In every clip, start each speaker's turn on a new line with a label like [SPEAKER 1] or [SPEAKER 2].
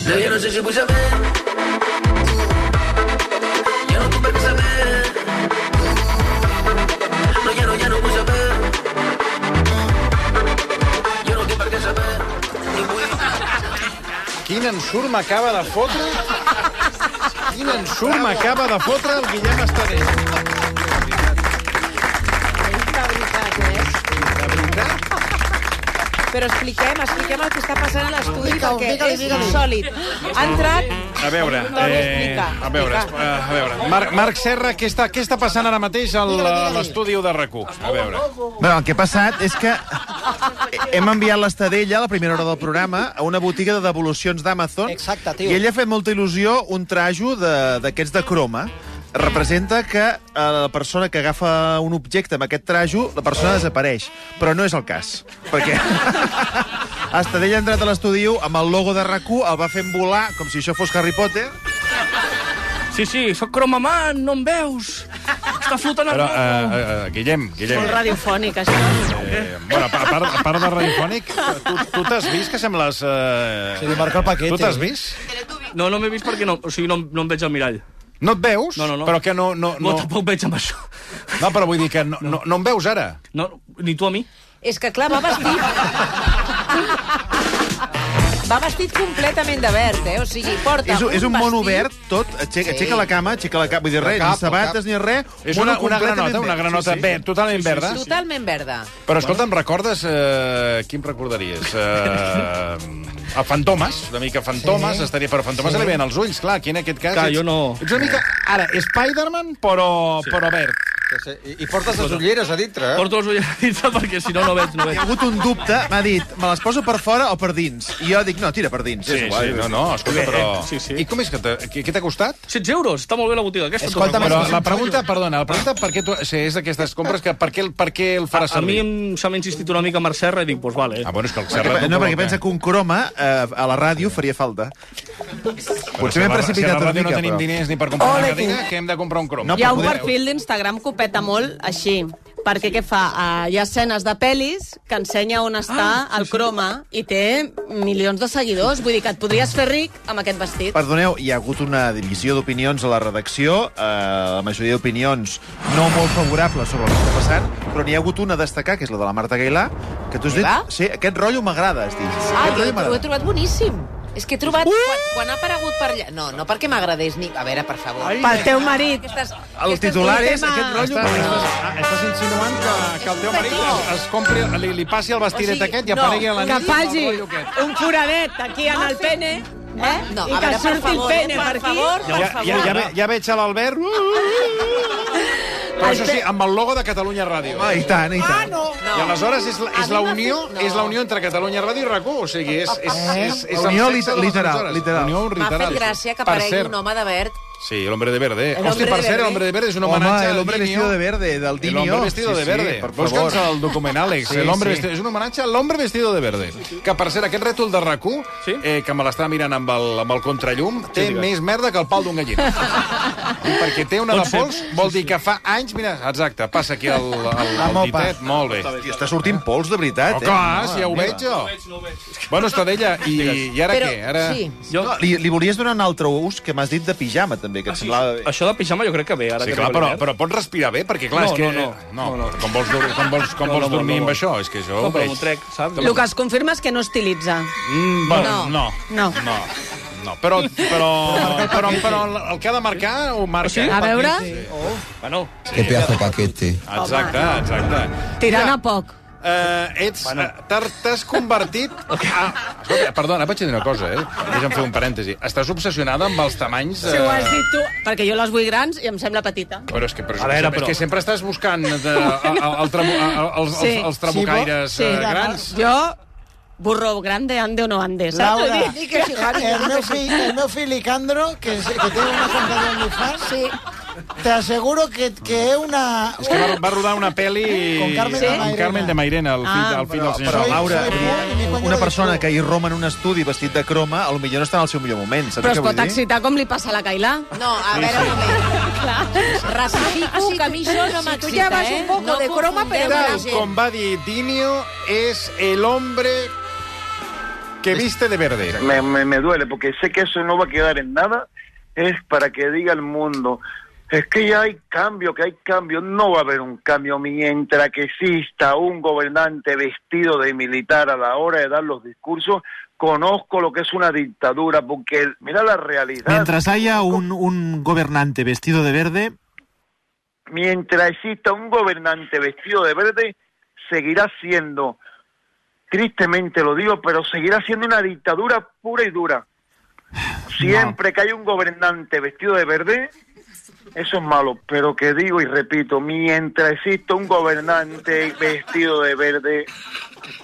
[SPEAKER 1] No, yo no sé si vull saber. Ja no tinc per què saber. No, ja no, ja no vull saber. Jo no tinc per què saber. Ni vull.
[SPEAKER 2] Quin ensurt m'acaba de fotre? Quin ensurt m'acaba de fotre el Guillem Estadell?
[SPEAKER 3] La veritat, eh?
[SPEAKER 2] De veritat?
[SPEAKER 3] Però expliquem, expliquem el que està passant a l'estudi
[SPEAKER 4] Digue-ho,
[SPEAKER 3] perquè
[SPEAKER 4] digue-li,
[SPEAKER 3] és
[SPEAKER 4] digue-li.
[SPEAKER 3] insòlid. Ha entrat...
[SPEAKER 2] A veure,
[SPEAKER 3] Toni,
[SPEAKER 2] eh,
[SPEAKER 3] explica,
[SPEAKER 2] a veure,
[SPEAKER 3] explica.
[SPEAKER 2] eh, a veure. Marc, Marc Serra, què està, què està passant ara mateix al-
[SPEAKER 4] Digue-li,
[SPEAKER 2] a
[SPEAKER 4] digue-li.
[SPEAKER 2] l'estudi de RAC1? A veure.
[SPEAKER 5] Bueno, el que ha passat és que hem enviat l'estadella a la primera hora del programa a una botiga de devolucions d'Amazon
[SPEAKER 4] Exacte, tio.
[SPEAKER 5] i ella ha fet molta il·lusió un trajo de- d'aquests de, croma. Representa que eh, la persona que agafa un objecte amb aquest trajo, la persona desapareix. Però no és el cas, perquè... Estadella ha entrat a l'estudi amb el logo de rac el va fent volar com si això fos Harry Potter.
[SPEAKER 6] Sí, sí, sóc cromamant, no em veus? Està flotant el
[SPEAKER 2] Però,
[SPEAKER 6] Però,
[SPEAKER 2] eh, eh, Guillem, Guillem...
[SPEAKER 3] Molt radiofònic, això.
[SPEAKER 2] Eh, bueno, a pa- a part, a part de radiofònic, tu tu t'has vist que sembles... Eh...
[SPEAKER 4] Se li marca el paquete.
[SPEAKER 2] Tu t'has vist?
[SPEAKER 6] No, no m'he vist perquè no, o sigui, no, no em veig al mirall.
[SPEAKER 2] No et veus?
[SPEAKER 6] No, no, no.
[SPEAKER 2] Però que no... No,
[SPEAKER 6] No,
[SPEAKER 2] no,
[SPEAKER 6] tampoc veig amb això.
[SPEAKER 2] no però vull dir que no, no, no em veus ara.
[SPEAKER 6] No, ni tu a mi.
[SPEAKER 3] És que, clar, va vestit... Va vestit completament de verd, eh? O sigui, porta
[SPEAKER 5] És, un- és un
[SPEAKER 3] vestit...
[SPEAKER 5] mono verd, tot, aixeca, aixeca la cama, aixeca la cama, vull dir res,
[SPEAKER 2] cap, el
[SPEAKER 5] ni sabates
[SPEAKER 2] cap.
[SPEAKER 5] ni res.
[SPEAKER 2] És
[SPEAKER 5] mono
[SPEAKER 2] una, una
[SPEAKER 5] completament
[SPEAKER 2] granota,
[SPEAKER 5] verd.
[SPEAKER 2] una granota
[SPEAKER 5] Sí, sí.
[SPEAKER 2] ver- totalment verda.
[SPEAKER 3] Totalment verda.
[SPEAKER 2] Però escolta, em recordes... Eh, qui em recordaries? Eh, a Fantomes, una mica Fantomes, sí. estaria... Però a Fantomes sí. li veien els ulls, clar, aquí en aquest cas...
[SPEAKER 6] Clar,
[SPEAKER 2] ets,
[SPEAKER 6] jo no-
[SPEAKER 2] Ets una mica... Ara, Spider-Man, però, sí. però verd.
[SPEAKER 7] I, I portes les ulleres a dintre, eh?
[SPEAKER 6] Porto els ulls a dintre perquè si no, no veig, no
[SPEAKER 5] Hi
[SPEAKER 6] veig.
[SPEAKER 5] ha hagut un dubte, m'ha dit, me les poso per fora o per dins? I jo dic, no, tira per dins.
[SPEAKER 2] Sí, sí, sí, no, no, escolta, però...
[SPEAKER 6] sí, sí.
[SPEAKER 2] I com és que... Te, què- què t'ha costat?
[SPEAKER 6] 6 euros, està molt bé la botiga aquesta.
[SPEAKER 4] Escolta'm,
[SPEAKER 2] Però
[SPEAKER 4] Sí,
[SPEAKER 2] la pregunta,
[SPEAKER 6] "Ah".
[SPEAKER 2] perdona, la pregunta per què tu, si és d'aquestes compres, que per què, el- per què el
[SPEAKER 6] a
[SPEAKER 2] farà
[SPEAKER 6] mi
[SPEAKER 2] servir?
[SPEAKER 6] em, se m'ha insistit una mica Marc Serra i dic, doncs pues vale.
[SPEAKER 2] Ah, bueno, és que el Serra...
[SPEAKER 5] Perquè,
[SPEAKER 2] t'ho
[SPEAKER 5] no, perquè
[SPEAKER 2] provoca.
[SPEAKER 5] pensa que un croma eh, a la ràdio faria falta.
[SPEAKER 2] Però
[SPEAKER 5] Potser m'he
[SPEAKER 2] si a la- si a
[SPEAKER 5] precipitat
[SPEAKER 2] la
[SPEAKER 5] una
[SPEAKER 2] ràdio
[SPEAKER 5] mica,
[SPEAKER 2] no tenim
[SPEAKER 5] però...
[SPEAKER 2] diners ni per comprar una
[SPEAKER 5] Ole,
[SPEAKER 2] cadira, que hem de comprar un crom.
[SPEAKER 5] No,
[SPEAKER 8] Hi ha un
[SPEAKER 5] Podeu-
[SPEAKER 8] perfil d'Instagram que ho peta molt així, perquè què fa? Uh, hi ha escenes de pel·lis que ensenya
[SPEAKER 2] Ah,
[SPEAKER 8] on està el croma i té milions de seguidors. Vull dir que et podries fer ric amb aquest vestit.
[SPEAKER 5] Perdoneu, hi ha hagut una divisió d'opinions a la redacció, eh, la majoria d'opinions no molt favorables sobre el que està passant, però n'hi ha hagut una a destacar, que és la de la Marta Gailà, que tu has dit,
[SPEAKER 3] Gailà?
[SPEAKER 5] sí, aquest rotllo m'agrada, has dit.
[SPEAKER 3] Ah, jo
[SPEAKER 5] Aquest rotllo
[SPEAKER 3] ho he
[SPEAKER 5] m'agrada.
[SPEAKER 3] trobat boníssim. És que he trobat... Quan, quan ha aparegut per allà... No, no perquè m'agradés ni... A veure, per favor.
[SPEAKER 8] Pel teu marit.
[SPEAKER 3] Aquestes,
[SPEAKER 5] El titular és
[SPEAKER 3] tema-
[SPEAKER 5] aquest rotllo.
[SPEAKER 2] Estàs,
[SPEAKER 5] m'agrada.
[SPEAKER 2] estàs, ah, estàs insinuant que, que el teu marit es, es compri, li, li passi el vestidet
[SPEAKER 3] O sigui,
[SPEAKER 2] aquest i
[SPEAKER 3] no,
[SPEAKER 2] aparegui a la
[SPEAKER 8] Que
[SPEAKER 2] nit
[SPEAKER 8] faci
[SPEAKER 2] el rotllo aquest.
[SPEAKER 8] un foradet aquí en el pene eh?
[SPEAKER 3] Ah, No,
[SPEAKER 8] i
[SPEAKER 3] a
[SPEAKER 8] que
[SPEAKER 3] veure, per
[SPEAKER 8] surti el
[SPEAKER 3] favor, eh,
[SPEAKER 8] pene
[SPEAKER 3] per
[SPEAKER 8] per aquí.
[SPEAKER 3] favor,
[SPEAKER 2] Ja, ja, ja, ve- ja veig a l'Albert... Uh, uh, uh. Però això sí, amb el logo de Catalunya Ràdio.
[SPEAKER 5] Ah, i tant, i tant.
[SPEAKER 2] I aleshores és la, és la
[SPEAKER 3] A mi m'ha
[SPEAKER 2] unió
[SPEAKER 3] fet- no.
[SPEAKER 2] és la unió entre Catalunya Ràdio i RAC1, o sigui, és... és, és, és
[SPEAKER 5] La unió
[SPEAKER 2] el
[SPEAKER 5] lit-
[SPEAKER 2] sexe de les
[SPEAKER 5] literal,
[SPEAKER 2] emissores.
[SPEAKER 5] literal.
[SPEAKER 2] La unió
[SPEAKER 3] M'ha
[SPEAKER 2] literal.
[SPEAKER 3] fet gràcia que
[SPEAKER 2] Per
[SPEAKER 3] aparegui
[SPEAKER 2] cert,
[SPEAKER 3] un home de verd.
[SPEAKER 2] Sí, el hombre de verde.
[SPEAKER 3] El
[SPEAKER 2] Hosti,
[SPEAKER 3] hombre
[SPEAKER 2] per
[SPEAKER 3] de
[SPEAKER 2] cert, el
[SPEAKER 3] verde.
[SPEAKER 2] hombre de verde és un
[SPEAKER 5] Home,
[SPEAKER 2] homenatge
[SPEAKER 5] el hombre
[SPEAKER 2] al Dinio.
[SPEAKER 5] vestido de verde, del
[SPEAKER 2] El
[SPEAKER 5] Dinio.
[SPEAKER 2] hombre vestido
[SPEAKER 5] Sí,
[SPEAKER 2] de
[SPEAKER 5] sí,
[SPEAKER 2] verde.
[SPEAKER 5] per favor.
[SPEAKER 2] Busca'ns el document, Àlex.
[SPEAKER 5] Sí,
[SPEAKER 2] el hombre
[SPEAKER 5] sí.
[SPEAKER 2] vestido... És un homenatge a l'hombre vestido de verde. Que, per cert, aquest rètol de rac
[SPEAKER 6] Sí?
[SPEAKER 2] eh, que me l'està mirant amb el, amb el contrallum, té més merda que el pal d'un gallina. I perquè té una de
[SPEAKER 6] Pot ser.
[SPEAKER 2] pols, vol dir que fa anys... Mira, exacte, passa aquí el, el,
[SPEAKER 5] La
[SPEAKER 2] el
[SPEAKER 5] mopa.
[SPEAKER 2] ditet. Molt bé.
[SPEAKER 5] Hòstia, està sortint pols, de veritat,
[SPEAKER 2] Oh, clar,
[SPEAKER 5] eh?
[SPEAKER 2] si ja ho veig jo. Bueno, Estadella, i, i ara què? Ara...
[SPEAKER 3] Sí.
[SPEAKER 6] Jo,
[SPEAKER 5] No, li, li volies donar un altre ús que m'has dit de pijama, també, que et semblava bé.
[SPEAKER 6] Ah, Això de pijama jo crec que ve, ara
[SPEAKER 2] Sí,
[SPEAKER 6] que
[SPEAKER 2] clar,
[SPEAKER 6] ve
[SPEAKER 2] però,
[SPEAKER 6] l'hivern.
[SPEAKER 2] però pots respirar bé, perquè clar,
[SPEAKER 6] No,
[SPEAKER 2] és que...
[SPEAKER 6] no, no.
[SPEAKER 2] no,
[SPEAKER 6] No, no.
[SPEAKER 2] Com vols, dur- com vols, com
[SPEAKER 6] No,
[SPEAKER 2] vols
[SPEAKER 6] no, no,
[SPEAKER 2] dormir
[SPEAKER 6] no,
[SPEAKER 2] amb
[SPEAKER 6] no.
[SPEAKER 2] això? És que jo...
[SPEAKER 6] No,
[SPEAKER 2] ho
[SPEAKER 6] però
[SPEAKER 2] veig.
[SPEAKER 6] m'ho trec, saps?
[SPEAKER 8] El que es confirma és que no estilitza.
[SPEAKER 2] Mm, bueno, no.
[SPEAKER 8] No.
[SPEAKER 2] No. No, però, però, però, però el que ha de marcar ho marca. eh,
[SPEAKER 8] A veure,
[SPEAKER 6] Bueno,
[SPEAKER 7] Qué pedazo paquete.
[SPEAKER 2] Exacte, exacte.
[SPEAKER 8] tirant a poc.
[SPEAKER 2] Eh, ets... Bueno. T'has convertit... A... Escolta, perdona, vaig a dir una cosa, eh? Deixa'm fer un parèntesi. Estàs obsessionada amb els tamanys... eh,
[SPEAKER 8] Si ho has dit tu, perquè jo les vull grans i em sembla petita.
[SPEAKER 2] Però és que, però,
[SPEAKER 6] A veure,
[SPEAKER 2] és
[SPEAKER 6] però-
[SPEAKER 2] que sempre estàs buscant eh, de, el, el, tramu, el, els,
[SPEAKER 8] Sí.
[SPEAKER 2] els, els trabucaires eh, grans.
[SPEAKER 8] Jo, burro grande, ande o no ande, saps?
[SPEAKER 4] Laura,
[SPEAKER 8] Vull dir-
[SPEAKER 4] el meu fill, el meu fill Licandro, que, se- que té una compra de OnlyFans, sí. t'asseguro que, que
[SPEAKER 2] Ah.
[SPEAKER 4] és una...
[SPEAKER 2] És que va, va rodar una pel·li...
[SPEAKER 4] Con Carmen de
[SPEAKER 2] Amb
[SPEAKER 4] Mairena.
[SPEAKER 2] Carmen de Mairena, el fill,
[SPEAKER 8] Ah,
[SPEAKER 2] el fill del senyor.
[SPEAKER 5] Però,
[SPEAKER 4] Soy-
[SPEAKER 5] Laura,
[SPEAKER 4] soy pobre y me cuelgo
[SPEAKER 5] una
[SPEAKER 4] del
[SPEAKER 5] persona
[SPEAKER 4] culo.
[SPEAKER 5] que hi roma en un estudi vestit de croma, a lo millor no està en el seu millor moment, saps
[SPEAKER 8] Però es
[SPEAKER 5] què vull
[SPEAKER 8] pot
[SPEAKER 5] dir?
[SPEAKER 8] excitar com li passa a la Cailà.
[SPEAKER 3] No, a veure un moment. Ratifico
[SPEAKER 8] Ah, sí,
[SPEAKER 3] que a mi això no
[SPEAKER 8] si tu
[SPEAKER 3] m'excita,
[SPEAKER 8] llevas
[SPEAKER 3] eh?
[SPEAKER 8] un poco
[SPEAKER 3] no
[SPEAKER 8] de croma,
[SPEAKER 3] confundeu
[SPEAKER 8] però
[SPEAKER 3] la
[SPEAKER 2] Tal
[SPEAKER 3] gent.
[SPEAKER 2] com va dir Dinio, és el hombre que viste de verde.
[SPEAKER 9] me, me, me duele porque sé que eso no va a quedar en nada. Es para que diga el mundo, es que ya hay cambio, que hay cambio. No va a haber un cambio mientras que exista un gobernante vestido de militar a la hora de dar los discursos. Conozco lo que es una dictadura porque mira la realidad.
[SPEAKER 10] Mientras haya un, un gobernante vestido de verde,
[SPEAKER 9] mientras exista un gobernante vestido de verde, seguirá siendo, tristemente lo digo, pero seguirá siendo una dictadura pura y dura. Siempre que hay un gobernante vestido de verde, eso es malo, pero que digo y repito, mientras exista un gobernante vestido de verde,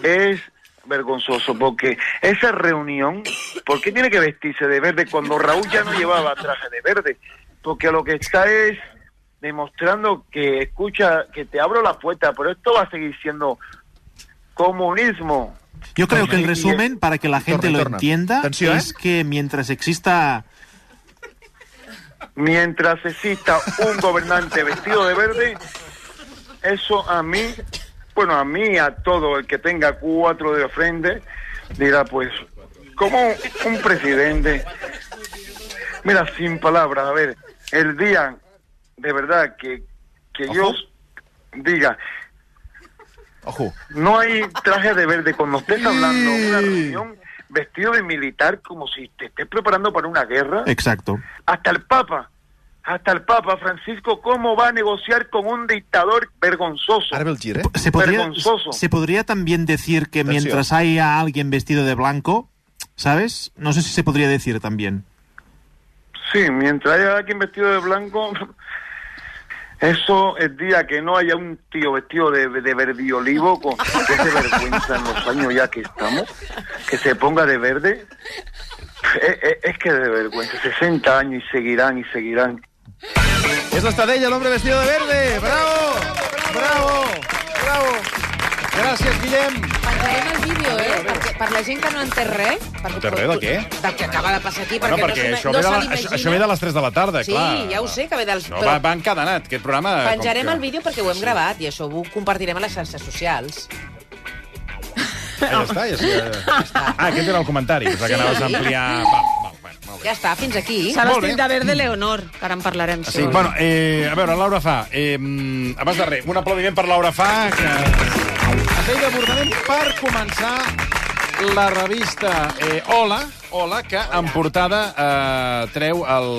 [SPEAKER 9] es vergonzoso, porque esa reunión, ¿por qué tiene que vestirse de verde cuando Raúl ya no llevaba traje de verde? Porque lo que está es demostrando que escucha, que te abro la puerta, pero esto va a seguir siendo comunismo.
[SPEAKER 10] yo creo que el
[SPEAKER 9] Y- y-
[SPEAKER 10] resumen, para que la gente lo
[SPEAKER 5] torna. ¿eh?
[SPEAKER 10] entienda,
[SPEAKER 5] Atenció,
[SPEAKER 10] es que mientras exista...
[SPEAKER 9] mientras exista un gobernante vestido de verde, eso a mí, bueno, a mí, a todo el que tenga cuatro de frente, dirá, pues, como un presidente, mira, sin palabras, a ver, el día, de verdad, que, que yo diga,
[SPEAKER 5] Ojo.
[SPEAKER 9] no hay traje de verde cuando usted está hablando en una reunión vestido de militar como si te estés preparando para una guerra
[SPEAKER 10] Exacto.
[SPEAKER 9] hasta el Papa, hasta el Papa Francisco, ¿cómo va a negociar con un dictador vergonzoso?
[SPEAKER 5] Ara ve el gir, eh?
[SPEAKER 10] Se podría,
[SPEAKER 9] Vergonzoso.
[SPEAKER 10] se podría también decir que
[SPEAKER 5] Atenció.
[SPEAKER 10] mientras haya alguien vestido de blanco, ¿sabes? No sé si se podría decir también.
[SPEAKER 9] Sí, mientras haya alguien vestido de blanco, eso es día que no haya un tío vestido de, de verde olivo, con que se vergüenza en los años ya que estamos, que se ponga de verde. Es, es- es que de vergüenza, 60 años y seguirán y seguirán.
[SPEAKER 5] És l'Estadella, l'home vestido de verde! Bravo! Bravo! Bravo!
[SPEAKER 2] Gràcies, Guillem.
[SPEAKER 3] Penjarem el vídeo, eh? Perquè, per la gent que no entén res... Per,
[SPEAKER 2] entén res de què?
[SPEAKER 3] Del que acaba de passar aquí,
[SPEAKER 2] Bueno,
[SPEAKER 3] perquè,
[SPEAKER 2] perquè
[SPEAKER 3] no, se,
[SPEAKER 2] això,
[SPEAKER 3] no
[SPEAKER 2] ve de la,
[SPEAKER 3] se
[SPEAKER 2] això,
[SPEAKER 3] l'imagina.
[SPEAKER 2] això ve de les 3 de la tarda,
[SPEAKER 3] Sí,
[SPEAKER 2] clar.
[SPEAKER 3] ja ho sé, que ve dels...
[SPEAKER 2] No,
[SPEAKER 3] però
[SPEAKER 2] va, va encadenat, aquest programa... com
[SPEAKER 3] penjarem
[SPEAKER 2] que-
[SPEAKER 3] el vídeo perquè ho hem gravat i això ho compartirem a les xarxes socials.
[SPEAKER 2] Ah, ja està, ja està. Ah, aquest era el comentari. Pensava que
[SPEAKER 3] Sí.
[SPEAKER 2] anaves a ampliar... Va, va, va, molt bé.
[SPEAKER 3] Ja està, fins aquí.
[SPEAKER 8] S'ha
[SPEAKER 2] Molt
[SPEAKER 8] vestit
[SPEAKER 2] bé. Ah,
[SPEAKER 8] de verd de Leonor, que ara en parlarem.
[SPEAKER 2] Sí, bueno, eh, a veure, Laura Fa. Eh, abans de res, un aplaudiment per Laura Fa, que... Es deia Bordanem per començar la revista eh, Hola, Hola, que en portada eh, treu el,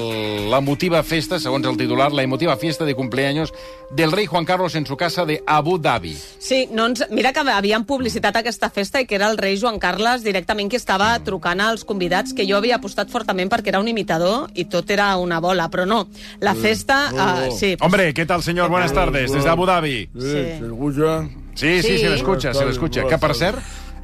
[SPEAKER 2] la emotiva festa, segons el titular, la emotiva fiesta de cumpleaños del rei Juan Carlos en su casa de Abu Dhabi.
[SPEAKER 8] Sí, no ens... mira que havien publicitat aquesta festa i que era el rei Joan Carles directament qui estava trucant als convidats, que jo havia apostat fortament perquè era un imitador i tot era una bola, però no. La
[SPEAKER 2] Mm.
[SPEAKER 8] festa...
[SPEAKER 2] Oh.
[SPEAKER 8] eh, sí,
[SPEAKER 2] Hombre, ¿qué tal, señor? Buenas tardes, desde Abu Dhabi.
[SPEAKER 8] sí.
[SPEAKER 2] Sí, sí,
[SPEAKER 3] Sí.
[SPEAKER 2] se l'escucha, se l'escucha. Que, per cert,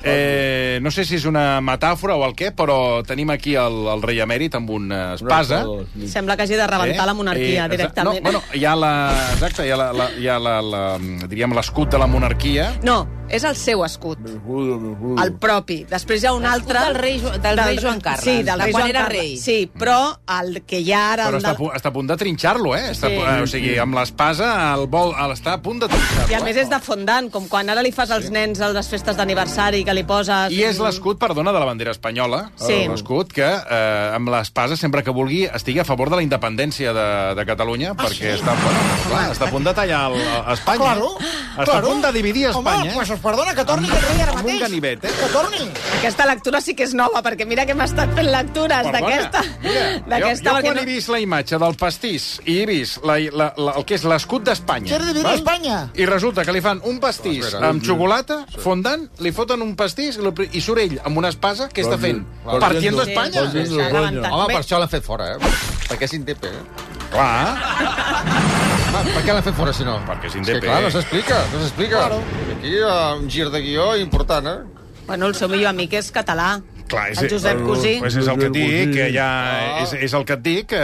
[SPEAKER 2] eh, no sé si és una metàfora o el què, però tenim aquí el, el rei emèrit amb una espasa.
[SPEAKER 8] Sembla que hagi de rebentar la monarquia
[SPEAKER 2] exa-
[SPEAKER 8] directament.
[SPEAKER 2] Eh? No, bueno, hi ha la... Exacte, hi ha la... la, hi ha la, la diríem, l'escut de la monarquia.
[SPEAKER 8] No, és el seu escut.
[SPEAKER 2] Mm.
[SPEAKER 8] El propi. Després hi ha un altre...
[SPEAKER 3] del rei Jo- del rei Joan Carles,
[SPEAKER 8] Sí,
[SPEAKER 3] de
[SPEAKER 8] del rei
[SPEAKER 3] quan
[SPEAKER 8] Joan
[SPEAKER 3] era
[SPEAKER 8] Carles.
[SPEAKER 3] rei.
[SPEAKER 8] Sí, però el que hi ha ara...
[SPEAKER 2] Mm. Però
[SPEAKER 8] el
[SPEAKER 2] està, a
[SPEAKER 8] del-
[SPEAKER 2] pu- està a punt de trinxar-lo, eh? Està,
[SPEAKER 8] Sí.
[SPEAKER 2] eh, O sigui, amb l'espasa el vol, el- està a punt de trinxar-lo.
[SPEAKER 8] I a més és de fondant, com quan ara li fas als nens a les festes d'aniversari que li poses...
[SPEAKER 2] I és l'escut, perdona, de la bandera espanyola.
[SPEAKER 8] Sí.
[SPEAKER 2] L'escut que, eh, amb l'espasa, sempre que vulgui, estigui a favor de la independència de, de
[SPEAKER 4] Ah,
[SPEAKER 2] Catalunya, perquè està, bueno, clar, està a punt de tallar el, a Espanya.
[SPEAKER 4] Claro,
[SPEAKER 2] està
[SPEAKER 4] claro.
[SPEAKER 2] a punt de dividir Espanya.
[SPEAKER 4] Home, pues us perdona, que torni aquest rei ara
[SPEAKER 2] Amb un
[SPEAKER 4] mateix.
[SPEAKER 2] ganivet, eh?
[SPEAKER 4] Que torni.
[SPEAKER 8] Aquesta lectura sí que és nova, perquè mira que hem estat fent lectures
[SPEAKER 2] Perdona,
[SPEAKER 8] d'aquesta...
[SPEAKER 2] mira, jo,
[SPEAKER 8] d'aquesta,
[SPEAKER 2] jo
[SPEAKER 8] perquè
[SPEAKER 2] quan he vist la imatge del pastís i he vist la, la, la, el que és l'escut d'Espanya...
[SPEAKER 4] Quiere dividir
[SPEAKER 2] val?
[SPEAKER 4] España.
[SPEAKER 2] I resulta que li fan un pastís
[SPEAKER 7] Espera.
[SPEAKER 2] amb xocolata, fondant, li foten un pastís i lo pri- i surt ell amb una espasa. Què està fent? Partiendo
[SPEAKER 8] Sí,
[SPEAKER 2] Espanya?
[SPEAKER 8] sí, sí, s'ha rebentat.
[SPEAKER 7] Home,
[SPEAKER 8] Bé,
[SPEAKER 7] per això l'ha fet fora, eh? Perquè és indepe, eh?
[SPEAKER 2] Clar.
[SPEAKER 7] Va, per què l'ha fet fora, si no?
[SPEAKER 2] Perquè és
[SPEAKER 7] que,
[SPEAKER 2] indepe.
[SPEAKER 7] clar, no s'explica, no s'explica. Aquí hi ha un gir de guió important, eh?
[SPEAKER 8] Bueno, el seu millor amic és català.
[SPEAKER 2] Clar, és,
[SPEAKER 8] El Josep Cosí.
[SPEAKER 2] Pues és el que et dic, que ja és, és el que et dic, que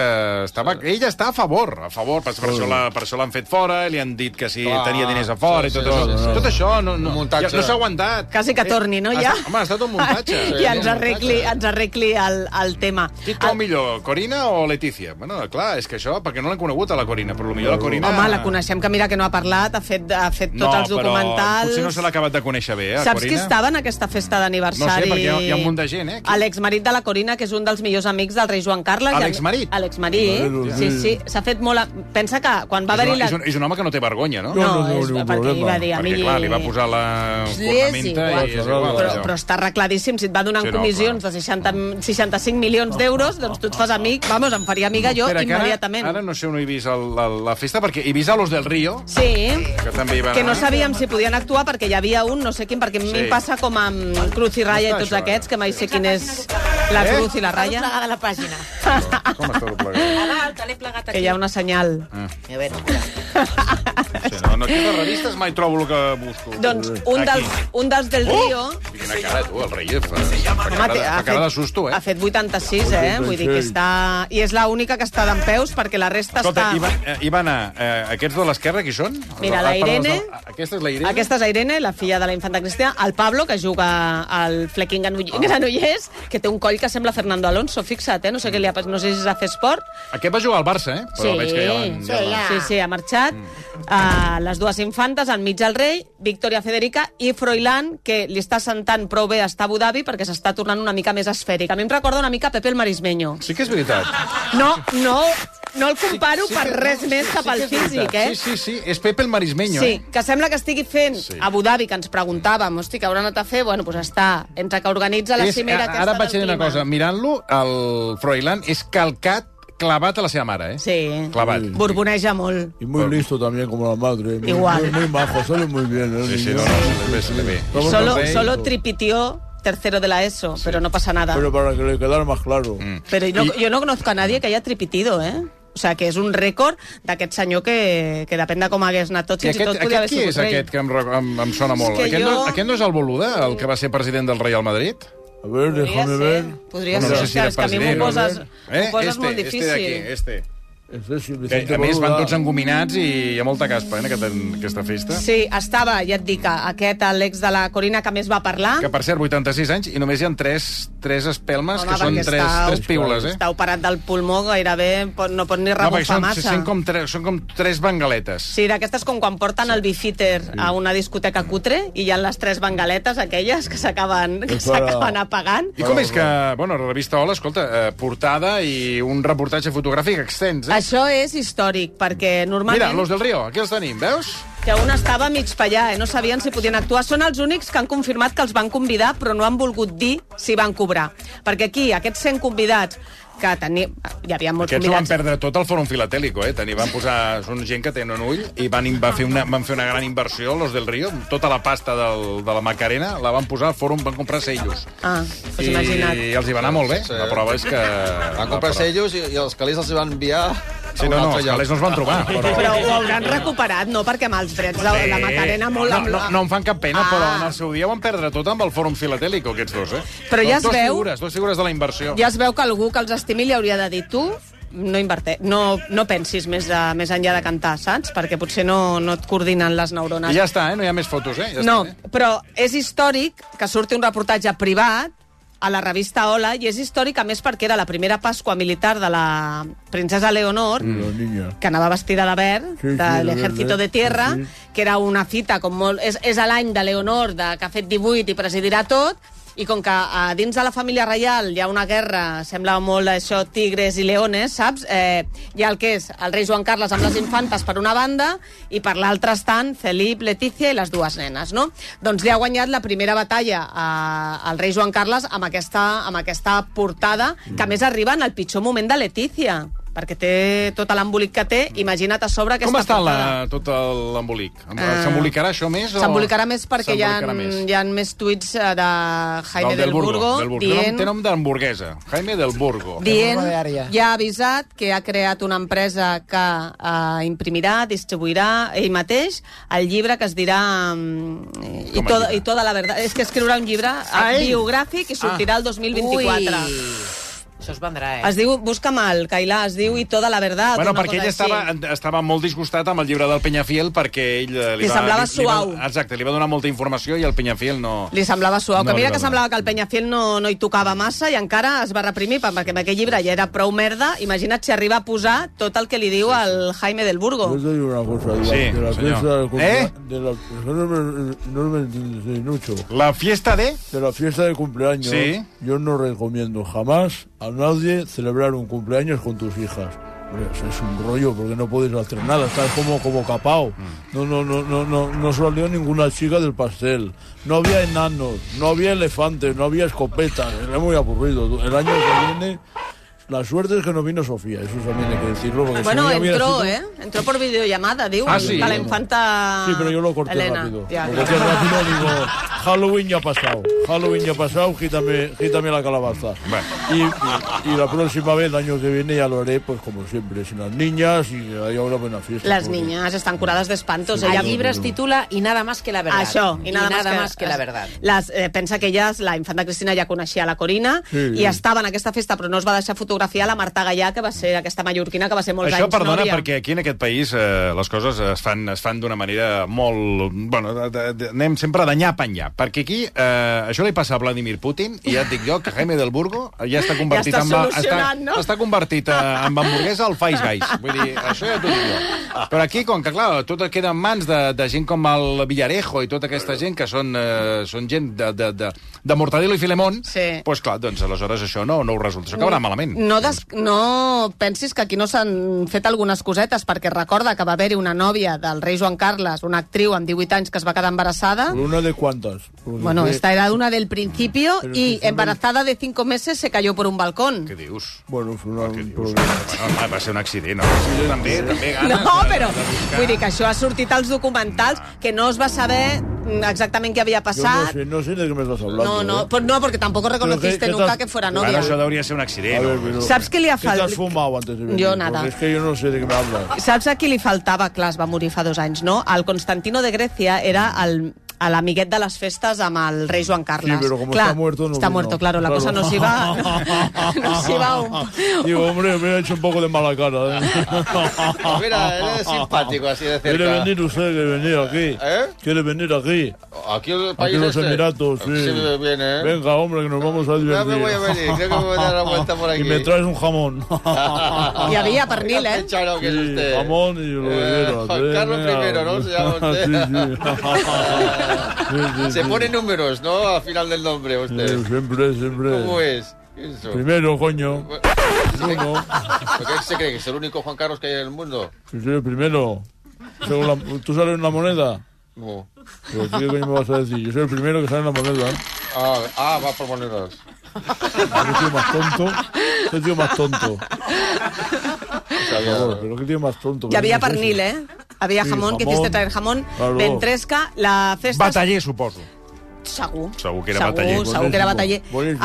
[SPEAKER 2] estava, ell està a favor, a favor, per, per això la- per això l'han fet fora, li han dit que si
[SPEAKER 7] Clar.
[SPEAKER 2] tenia diners a fora i
[SPEAKER 7] Sí,
[SPEAKER 2] tot
[SPEAKER 7] sí,
[SPEAKER 2] això.
[SPEAKER 7] sí, sí.
[SPEAKER 2] Tot això no, no,
[SPEAKER 7] Un muntatge.
[SPEAKER 2] ja, no s'ha aguantat.
[SPEAKER 8] Quasi que torni, no,
[SPEAKER 2] Eh,
[SPEAKER 8] ja?
[SPEAKER 2] Home, ha estat un muntatge.
[SPEAKER 8] I ens arregli, ens arregli el, el tema.
[SPEAKER 2] Qui et cau millor, Corina o Letícia? Bueno, clar, és que això, perquè no l'han conegut a la Corina, però potser la Corina...
[SPEAKER 8] Home, la coneixem, que mira que no ha parlat, ha fet, ha fet tots els
[SPEAKER 2] No, però
[SPEAKER 8] documentals...
[SPEAKER 2] potser no se l'ha acabat de conèixer bé, eh,
[SPEAKER 8] Saps
[SPEAKER 2] Corina?
[SPEAKER 8] qui estava en aquesta festa
[SPEAKER 2] No sé,
[SPEAKER 8] d'aniversari?
[SPEAKER 2] perquè hi ha, hi ha un munt de gent, gent, eh?
[SPEAKER 8] A l'exmarit de la Corina, que és un dels millors amics del rei Joan Carles.
[SPEAKER 2] A
[SPEAKER 8] i
[SPEAKER 2] l'exmarit?
[SPEAKER 8] A l'exmarit.
[SPEAKER 2] Bueno,
[SPEAKER 8] Sí,
[SPEAKER 2] sí.
[SPEAKER 8] sí. S'ha fet molt... A... Pensa que quan va
[SPEAKER 2] és,
[SPEAKER 8] haver-hi la...
[SPEAKER 2] una, és, un, és un home que no té vergonya, no?
[SPEAKER 8] No, no, no, és- no, no, perquè li va dir a
[SPEAKER 2] Perquè,
[SPEAKER 8] mi-
[SPEAKER 2] clar, li va posar la cornamenta
[SPEAKER 8] igual.
[SPEAKER 2] i és igual.
[SPEAKER 8] Però,
[SPEAKER 2] allò.
[SPEAKER 8] però està arregladíssim. Si et va donar
[SPEAKER 2] Sí,
[SPEAKER 8] sí,
[SPEAKER 2] no,
[SPEAKER 8] comissions de 60, 65 milions d'euros, doncs tu et fas amic, vamos, em faria amiga jo
[SPEAKER 2] Espera, que
[SPEAKER 8] immediatament.
[SPEAKER 2] Ara, ara no sé on he vist el, la, la festa, perquè he vist a Los del Río,
[SPEAKER 8] Sí,
[SPEAKER 2] que també hi van
[SPEAKER 8] que no
[SPEAKER 2] anar.
[SPEAKER 8] sabíem si podien actuar perquè hi havia un, no sé quin, perquè a mi
[SPEAKER 2] Sí.
[SPEAKER 8] em passa com amb Cruz i Raya
[SPEAKER 2] Està
[SPEAKER 8] i tots
[SPEAKER 2] això,
[SPEAKER 8] aquests, que mai sé quin és la
[SPEAKER 2] Eh?
[SPEAKER 8] Cruz i la
[SPEAKER 3] Està
[SPEAKER 8] Raya.
[SPEAKER 3] doblegada la pàgina.
[SPEAKER 2] Com està doblegat?
[SPEAKER 3] A dalt, te l'he plegat aquí.
[SPEAKER 8] Que hi ha una senyal.
[SPEAKER 3] A veure, espera.
[SPEAKER 2] Sí, no, en aquestes revistes mai trobo el que busco.
[SPEAKER 8] Doncs un
[SPEAKER 2] Aquí. Oh!
[SPEAKER 8] dels, un dels del Río
[SPEAKER 2] I Quina cara, tu, el rei. eh, Fa, fa,
[SPEAKER 8] Home,
[SPEAKER 2] cara,
[SPEAKER 8] té-
[SPEAKER 2] de, fa cara de susto, eh?
[SPEAKER 8] ha fet 86, eh? Vull dir que està... I és l'única que està d'en peus perquè la resta
[SPEAKER 2] Escolta,
[SPEAKER 8] està...
[SPEAKER 2] Iva, eh, Ivana, eh, aquests de l'esquerra qui són?
[SPEAKER 8] Mira, la
[SPEAKER 2] Ah, perdó,
[SPEAKER 8] Irene-
[SPEAKER 2] no, Aquesta és la Irene?
[SPEAKER 8] Aquesta és la Irene, la filla de la infanta Cristina, el Pablo, que juga al Flequín
[SPEAKER 2] Ah.
[SPEAKER 8] Granoll- Granollers, que té un coll que sembla Fernando Alonso, fixa't, eh? no sé, què li ha, pas- no sé si és a fer esport.
[SPEAKER 2] Aquest va jugar al Barça, eh? Però veig que ja l'han...
[SPEAKER 8] sí,
[SPEAKER 2] l'han-
[SPEAKER 8] sí, sí, ha marxat. Mm. Uh, les dues infantes, enmig el rei, Victoria Federica i Froilán, que li està sentant prou bé estar a Abu Dhabi perquè s'està tornant una mica més esfèrica. A mi em recorda una mica Pepe el Marismeño.
[SPEAKER 2] Sí que és veritat.
[SPEAKER 8] No, no, no el comparo sí, sí, per
[SPEAKER 2] que-
[SPEAKER 8] res més que pel
[SPEAKER 2] que és
[SPEAKER 8] físic,
[SPEAKER 2] veritat.
[SPEAKER 8] eh?
[SPEAKER 2] Sí, sí, sí, és Pepe el Marismeño,
[SPEAKER 8] Sí,
[SPEAKER 2] eh?
[SPEAKER 8] que sembla que estigui fent
[SPEAKER 2] Sí.
[SPEAKER 8] sí. Abu Dhabi, que ens preguntàvem, hosti, que haurà anat a fer? Bueno, doncs està, entre que organitza la
[SPEAKER 2] És,
[SPEAKER 8] cimera
[SPEAKER 2] a-
[SPEAKER 8] aquesta
[SPEAKER 2] ara et vaig
[SPEAKER 8] del
[SPEAKER 2] dir una
[SPEAKER 8] clima.
[SPEAKER 2] cosa, mirant-lo, el Froilán és calcat, clavat a la seva mare, eh?
[SPEAKER 8] Sí. Mm.
[SPEAKER 2] Clavat.
[SPEAKER 8] Borboneja molt.
[SPEAKER 11] Y muy listo también como la madre. Muy,
[SPEAKER 8] Igual.
[SPEAKER 11] Muy, muy majo, sale muy bien. el
[SPEAKER 2] Sí, sí,
[SPEAKER 11] niño.
[SPEAKER 2] no, no, se le ve, se le ve.
[SPEAKER 11] Estamos
[SPEAKER 8] Solo,
[SPEAKER 11] contentos.
[SPEAKER 8] solo tripitió tercero de la ESO, pero no pasa nada.
[SPEAKER 11] Pero
[SPEAKER 8] Pero,
[SPEAKER 11] para que le quedara más claro.
[SPEAKER 2] Mm.
[SPEAKER 8] no- yo no conozco a nadie que haya tripitido, eh? O sea, que és un rècord d'aquest senyor que, que depèn de com hagués anat tot,
[SPEAKER 2] I
[SPEAKER 8] fins i
[SPEAKER 2] aquest,
[SPEAKER 8] tot podia haver
[SPEAKER 2] aquest qui
[SPEAKER 8] sigut
[SPEAKER 2] és
[SPEAKER 8] rei.
[SPEAKER 2] aquest que em, re- em, em sona molt?
[SPEAKER 8] que
[SPEAKER 2] Aquest, no,
[SPEAKER 8] jo-
[SPEAKER 2] aquest no és el Boluda, el que va ser president del Real Madrid?
[SPEAKER 11] A ver, déjame ver.
[SPEAKER 8] Podria
[SPEAKER 2] Bueno,
[SPEAKER 8] ser,
[SPEAKER 2] no sé si era
[SPEAKER 8] és que a mi m'ho
[SPEAKER 2] president, no?
[SPEAKER 8] poses,
[SPEAKER 2] Eh?
[SPEAKER 8] eh? poses
[SPEAKER 2] Este,
[SPEAKER 8] molt
[SPEAKER 2] este
[SPEAKER 8] difícil.
[SPEAKER 2] d'aquí, este.
[SPEAKER 11] Este sí,
[SPEAKER 2] Que,
[SPEAKER 11] Vicente
[SPEAKER 2] a més, van
[SPEAKER 11] Boluda.
[SPEAKER 2] tots engominats i hi ha molta caspa eh, en aquesta, en aquesta festa.
[SPEAKER 8] Sí, estava, ja et dic, aquest, l'ex de la Corina, que més va parlar,
[SPEAKER 2] Que, per cert, 86 anys i només hi ha 3, 3 espelmes,
[SPEAKER 8] Home,
[SPEAKER 2] que són
[SPEAKER 8] perquè
[SPEAKER 2] 3,
[SPEAKER 8] està-
[SPEAKER 2] 3 piules, eh?
[SPEAKER 8] està operat del pulmó gairebé, pot- no pot ni
[SPEAKER 2] No, perquè
[SPEAKER 8] rebufar
[SPEAKER 2] són,
[SPEAKER 8] massa.
[SPEAKER 2] són, com tres, són com tres bengaletes.
[SPEAKER 8] Sí, d'aquestes com quan porten el bifíter a una discoteca cutre i hi ha les tres bengaletes aquelles que s'acaben que
[SPEAKER 2] És para-
[SPEAKER 8] s'acaben apagant.
[SPEAKER 2] I com és que, bueno, la revista Hola, escolta, eh, portada i un reportatge fotogràfic extens, eh?
[SPEAKER 8] Això és històric, perquè normalment...
[SPEAKER 2] Mira, Los del Río, aquí els tenim, veus?
[SPEAKER 8] que un estava mig per allà, eh? no sabien si podien actuar. Són els únics que han confirmat que els van convidar, però no han volgut dir si van cobrar. Perquè aquí, aquests 100 convidats que tenia... Hi havia molts
[SPEAKER 2] Aquests ho van
[SPEAKER 8] convidats.
[SPEAKER 2] perdre tot al Fòrum Filatélico, eh? Tenir, van posar... Són gent que tenen un ull i van, in- va fer una, van fer una gran inversió, los del Río, amb tota la pasta del, de la Macarena la van posar al Fòrum, van comprar sellos.
[SPEAKER 8] Ah, pues
[SPEAKER 2] I,
[SPEAKER 8] imagina't.
[SPEAKER 2] I els hi va anar molt bé. La prova és que...
[SPEAKER 7] Van comprar sellos i, i els calés els hi van enviar
[SPEAKER 2] Sí, no, no, els calés no es van trobar, però...
[SPEAKER 8] Però ho hauran recuperat, no? Perquè amb els drets de la Macarena Ah. molt...
[SPEAKER 2] eh, no, no, no, no em fan cap pena, però en el seu dia van perdre tot amb el Fòrum Filatélico, aquests dos, eh?
[SPEAKER 8] Però ja es
[SPEAKER 2] dos
[SPEAKER 8] veu-
[SPEAKER 2] Figures, dos figures de la inversió.
[SPEAKER 8] Ja es veu que algú que els estimi li hauria de dir tu no, inverte, no, no pensis més, de, més enllà de cantar, saps? Perquè potser no, no et coordinen les neurones.
[SPEAKER 2] I ja està, eh? No hi ha més fotos, eh? Ja
[SPEAKER 8] no,
[SPEAKER 2] Està, eh?
[SPEAKER 8] però és històric que surti un reportatge privat a la revista Hola, i és històric, a més, perquè era la primera Pasqua militar de la princesa Leonor,
[SPEAKER 11] Mm, La niña.
[SPEAKER 8] que anava vestida de verd,
[SPEAKER 11] Sí, sí, de
[SPEAKER 8] de l'Ejército
[SPEAKER 11] verde.
[SPEAKER 8] de Tierra,
[SPEAKER 11] Sí,
[SPEAKER 8] que era una fita com molt... És, és a l'any de Leonor, de, que ha fet 18 i presidirà tot, i com que a dins de la família reial hi ha una guerra, sembla molt això, tigres i leones, saps? Eh, hi ha el que és el rei Joan Carles amb les infantes per una banda i per l'altra estan Felip, Letícia i les dues nenes, no? Doncs li ha guanyat la primera batalla a- al rei Joan Carles amb aquesta, amb aquesta portada, que a més arriba en el pitjor moment de Letícia perquè té tot l'embolic que té, imagina't a sobre aquesta
[SPEAKER 2] Com està la,
[SPEAKER 8] portada.
[SPEAKER 2] tot el- l'embolic?
[SPEAKER 8] Eh,
[SPEAKER 2] S'embolicarà això més? o-
[SPEAKER 8] S'embolicarà més perquè hi ha,
[SPEAKER 2] S'embolicarà més.
[SPEAKER 8] hi ha més tuits eh, de Jaime del, Burgo,
[SPEAKER 2] del Burgo. Té nom-
[SPEAKER 8] dient,
[SPEAKER 2] Té nom d'hamburguesa. Jaime del Burgo.
[SPEAKER 8] dient ja ha avisat que ha creat una empresa que eh, imprimirà, distribuirà ell mateix el llibre que es dirà mm, i,
[SPEAKER 2] Com
[SPEAKER 8] to
[SPEAKER 2] el
[SPEAKER 8] i tota la veritat. És que escriurà un llibre
[SPEAKER 2] Ah,
[SPEAKER 8] eh,
[SPEAKER 2] ell?
[SPEAKER 8] biogràfic i sortirà el 2024.
[SPEAKER 3] Ui. Això es vendrà, eh?
[SPEAKER 8] Es diu Busca mal, Cailà, es diu I tota la verdad.
[SPEAKER 2] Bueno,
[SPEAKER 8] una
[SPEAKER 2] perquè
[SPEAKER 8] cosa
[SPEAKER 2] ell estava,
[SPEAKER 8] així.
[SPEAKER 2] estava molt disgustat amb el llibre del Penyafiel perquè ell eh, li
[SPEAKER 8] Li
[SPEAKER 2] va...
[SPEAKER 8] semblava
[SPEAKER 2] li- li va-
[SPEAKER 8] suau.
[SPEAKER 2] Exacte, li va donar molta informació i el Penyafiel no...
[SPEAKER 8] Li semblava suau, que
[SPEAKER 2] No,
[SPEAKER 8] mira
[SPEAKER 2] no,
[SPEAKER 8] que
[SPEAKER 2] no.
[SPEAKER 8] semblava que el Penyafiel no, no hi tocava massa i encara es va reprimir pa- perquè en aquell llibre ja era prou merda. Imagina't si arriba a posar tot el que li diu al Jaime del Burgo.
[SPEAKER 11] Yo te digo una cosa, Iván,
[SPEAKER 2] Sí,
[SPEAKER 11] de la
[SPEAKER 2] señor.
[SPEAKER 11] fiesta del
[SPEAKER 2] ¿Eh?
[SPEAKER 11] cumpleaños... De la, es que no me, no me entiendes, Nucho.
[SPEAKER 2] ¿La fiesta de?
[SPEAKER 11] De la fiesta de cumpleaños.
[SPEAKER 2] Sí.
[SPEAKER 11] Yo no recomiendo jamás a nadie celebrar un cumpleaños con tus hijas. Hombre, eso es un rollo porque no podéis hacer nada, estás como, como capao.
[SPEAKER 2] Mm.
[SPEAKER 11] No, no, no, no, no, no salió ninguna chica del pastel. No había enanos, no había elefantes, no había escopetas. Era muy aburrido. El año que viene, la suerte es que no vino Sofía, eso también hay que decirlo. Porque si
[SPEAKER 8] Bueno,
[SPEAKER 11] no, ya hubiera
[SPEAKER 8] entró,
[SPEAKER 11] sido-
[SPEAKER 8] eh? Entró por videollamada, diu,
[SPEAKER 11] Ah, sí?
[SPEAKER 8] que la infanta
[SPEAKER 11] Sí, pero yo lo corté
[SPEAKER 8] Ah, Elena.
[SPEAKER 11] rápido.
[SPEAKER 8] Ja,
[SPEAKER 11] Lo
[SPEAKER 8] clar.
[SPEAKER 11] corté rápido, digo, Halloween ya ha pasado. Halloween ya ha pasado, quítame, quítame la calabaza. Y, y la próxima vez, el año que viene, ya lo haré, pues como siempre, sin las niñas y que haya una buena fiesta.
[SPEAKER 8] Les
[SPEAKER 11] porque-
[SPEAKER 8] niñas estan curades d'espantos.
[SPEAKER 11] Sí,
[SPEAKER 8] Ella...
[SPEAKER 11] el llibre es
[SPEAKER 3] titula I nada más que la verdad.
[SPEAKER 8] Això,
[SPEAKER 3] I
[SPEAKER 8] i nada,
[SPEAKER 3] nada más que la verdad.
[SPEAKER 8] Les, eh, pensa que elles, la infanta Cristina ja coneixia la Corina
[SPEAKER 2] Sí.
[SPEAKER 8] i estava en aquesta festa, però no es va deixar fotografiar la Marta Gallà, que va ser aquesta mallorquina que va ser molts
[SPEAKER 2] Això,
[SPEAKER 8] anys
[SPEAKER 2] perdona,
[SPEAKER 8] nòvia.
[SPEAKER 2] perquè aquí en aquest país eh, les coses es fan, es fan d'una manera molt... Bueno, de, de, de, anem sempre de nyap en nyap, perquè aquí eh, això li passa a Vladimir Putin, i ja et dic jo que Jaime del Burgo ja està convertit
[SPEAKER 8] Ja està
[SPEAKER 2] en...
[SPEAKER 8] solucionat,
[SPEAKER 2] està,
[SPEAKER 8] no?
[SPEAKER 2] està convertit eh, en hamburguesa al Five Guys. Vull dir, això ja t'ho dic jo. Però aquí, com que, clar, tot queda en mans de, de gent com el Villarejo i tota aquesta gent, que són, eh, són gent de, de, de, de Mortadelo i Filemón, sí. doncs clar, doncs aleshores això no, no ho resulta. Això acabarà malament.
[SPEAKER 8] No, des... no pensis que aquí no s'han fet algunes cosetes, perquè recorda que va haver-hi una nòvia del rei Joan Carles, una actriu amb 18 anys que es va quedar embarassada.
[SPEAKER 11] ¿Por una de eh, cuántas? Por
[SPEAKER 8] Bueno,
[SPEAKER 11] de-
[SPEAKER 8] esta era una del principio
[SPEAKER 11] Pero
[SPEAKER 8] y
[SPEAKER 11] si son-
[SPEAKER 8] embarazada de cinco meses se cayó por un balcón.
[SPEAKER 2] Què Ah, dius?
[SPEAKER 11] Bueno, fue una, un
[SPEAKER 2] problema. Va ser un accident. No? Sí, també, també ganes.
[SPEAKER 8] No, però vull dir que això ha sortit als documentals, que no es va saber mm, exactament què havia
[SPEAKER 11] Yo no
[SPEAKER 8] passat.
[SPEAKER 11] sé, no sé de qué me estás hablando.
[SPEAKER 8] No, no,
[SPEAKER 11] ¿eh?
[SPEAKER 8] pues no, porque tampoco reconociste
[SPEAKER 11] Pero que- que
[SPEAKER 8] nunca
[SPEAKER 11] tal-
[SPEAKER 8] que fuera
[SPEAKER 2] Bueno,
[SPEAKER 8] novia.
[SPEAKER 2] això deuria ser un accident.
[SPEAKER 11] A ver,
[SPEAKER 2] no?
[SPEAKER 11] pero-
[SPEAKER 8] ¿Sabes qué le ha
[SPEAKER 11] ¿Qué te has
[SPEAKER 8] fal-
[SPEAKER 11] fumado antes de
[SPEAKER 8] Yo
[SPEAKER 11] venir? Porque
[SPEAKER 8] nada.
[SPEAKER 11] Es que yo no sé de qué me hablas.
[SPEAKER 8] Saps a qui li faltava? Clar, es va morir fa dos anys, no? El Constantino de Grècia era el a l'amiguet de les festes amb el rei Joan Carles.
[SPEAKER 11] Sí, pero como
[SPEAKER 8] Clar,
[SPEAKER 11] está muerto, no
[SPEAKER 8] Está
[SPEAKER 11] vino.
[SPEAKER 8] muerto, claro, la
[SPEAKER 11] Claro.
[SPEAKER 8] cosa no s'hi va... No s'hi va un...
[SPEAKER 11] Digo, hombre, me ha hecho un poco de mala cara. ¿eh?
[SPEAKER 7] Mira, eres simpático así de
[SPEAKER 11] ¿Quiere
[SPEAKER 7] cerca.
[SPEAKER 11] venir usted? ¿Quiere venir aquí? ¿Quiere venir aquí?
[SPEAKER 7] Aquí el
[SPEAKER 11] Aquí
[SPEAKER 7] país
[SPEAKER 11] los
[SPEAKER 7] este.
[SPEAKER 11] Emiratos, sí.
[SPEAKER 7] Sí, viene, ¿eh?
[SPEAKER 11] Venga, hombre, que nos vamos a divertir.
[SPEAKER 7] me voy a venir, creo que me voy a dar la vuelta por aquí.
[SPEAKER 11] Y me traes un jamón.
[SPEAKER 8] Hi havia pernil, eh?
[SPEAKER 7] que es usted.
[SPEAKER 11] jamón y lo que quieras.
[SPEAKER 7] Juan
[SPEAKER 11] eh,
[SPEAKER 7] Carlos
[SPEAKER 11] venga.
[SPEAKER 7] I, ¿no? Se llama usted.
[SPEAKER 11] Sí, sí. Sí, sí,
[SPEAKER 7] Se pone números, ¿no? Al final del nombre,
[SPEAKER 11] sí.
[SPEAKER 7] usted.
[SPEAKER 11] Sí, Siempre, siempre.
[SPEAKER 7] ¿Cómo es? Eso.
[SPEAKER 11] Primero, coño. Uno.
[SPEAKER 7] ¿Por qué se cree que es el único Juan Carlos que hay en el mundo?
[SPEAKER 11] Sí, sí, primero. Según la- ¿Tú sales una moneda?
[SPEAKER 7] No.
[SPEAKER 11] Pero,
[SPEAKER 2] Pues
[SPEAKER 11] tío, ¿qué coño me vas a decir? Yo soy el primero que sale en la moneda. ¿eh?
[SPEAKER 7] Ah, ah, va por monedas.
[SPEAKER 11] Qué tío más tonto. Qué tío más tonto. Por favor, pero qué tío más tonto.
[SPEAKER 8] Hi havia
[SPEAKER 11] ¿Qué es eso?
[SPEAKER 8] pernil, eh? Havia
[SPEAKER 11] Sí,
[SPEAKER 8] jamón, que
[SPEAKER 11] jamón.
[SPEAKER 8] quisiste traer jamón,
[SPEAKER 11] Claro.
[SPEAKER 8] ventresca, la festa...
[SPEAKER 2] Bataller, suposo.
[SPEAKER 8] Segur.
[SPEAKER 2] Segur que era
[SPEAKER 8] segur,
[SPEAKER 2] bataller.
[SPEAKER 8] Segur que era bataller.
[SPEAKER 2] Boníssim.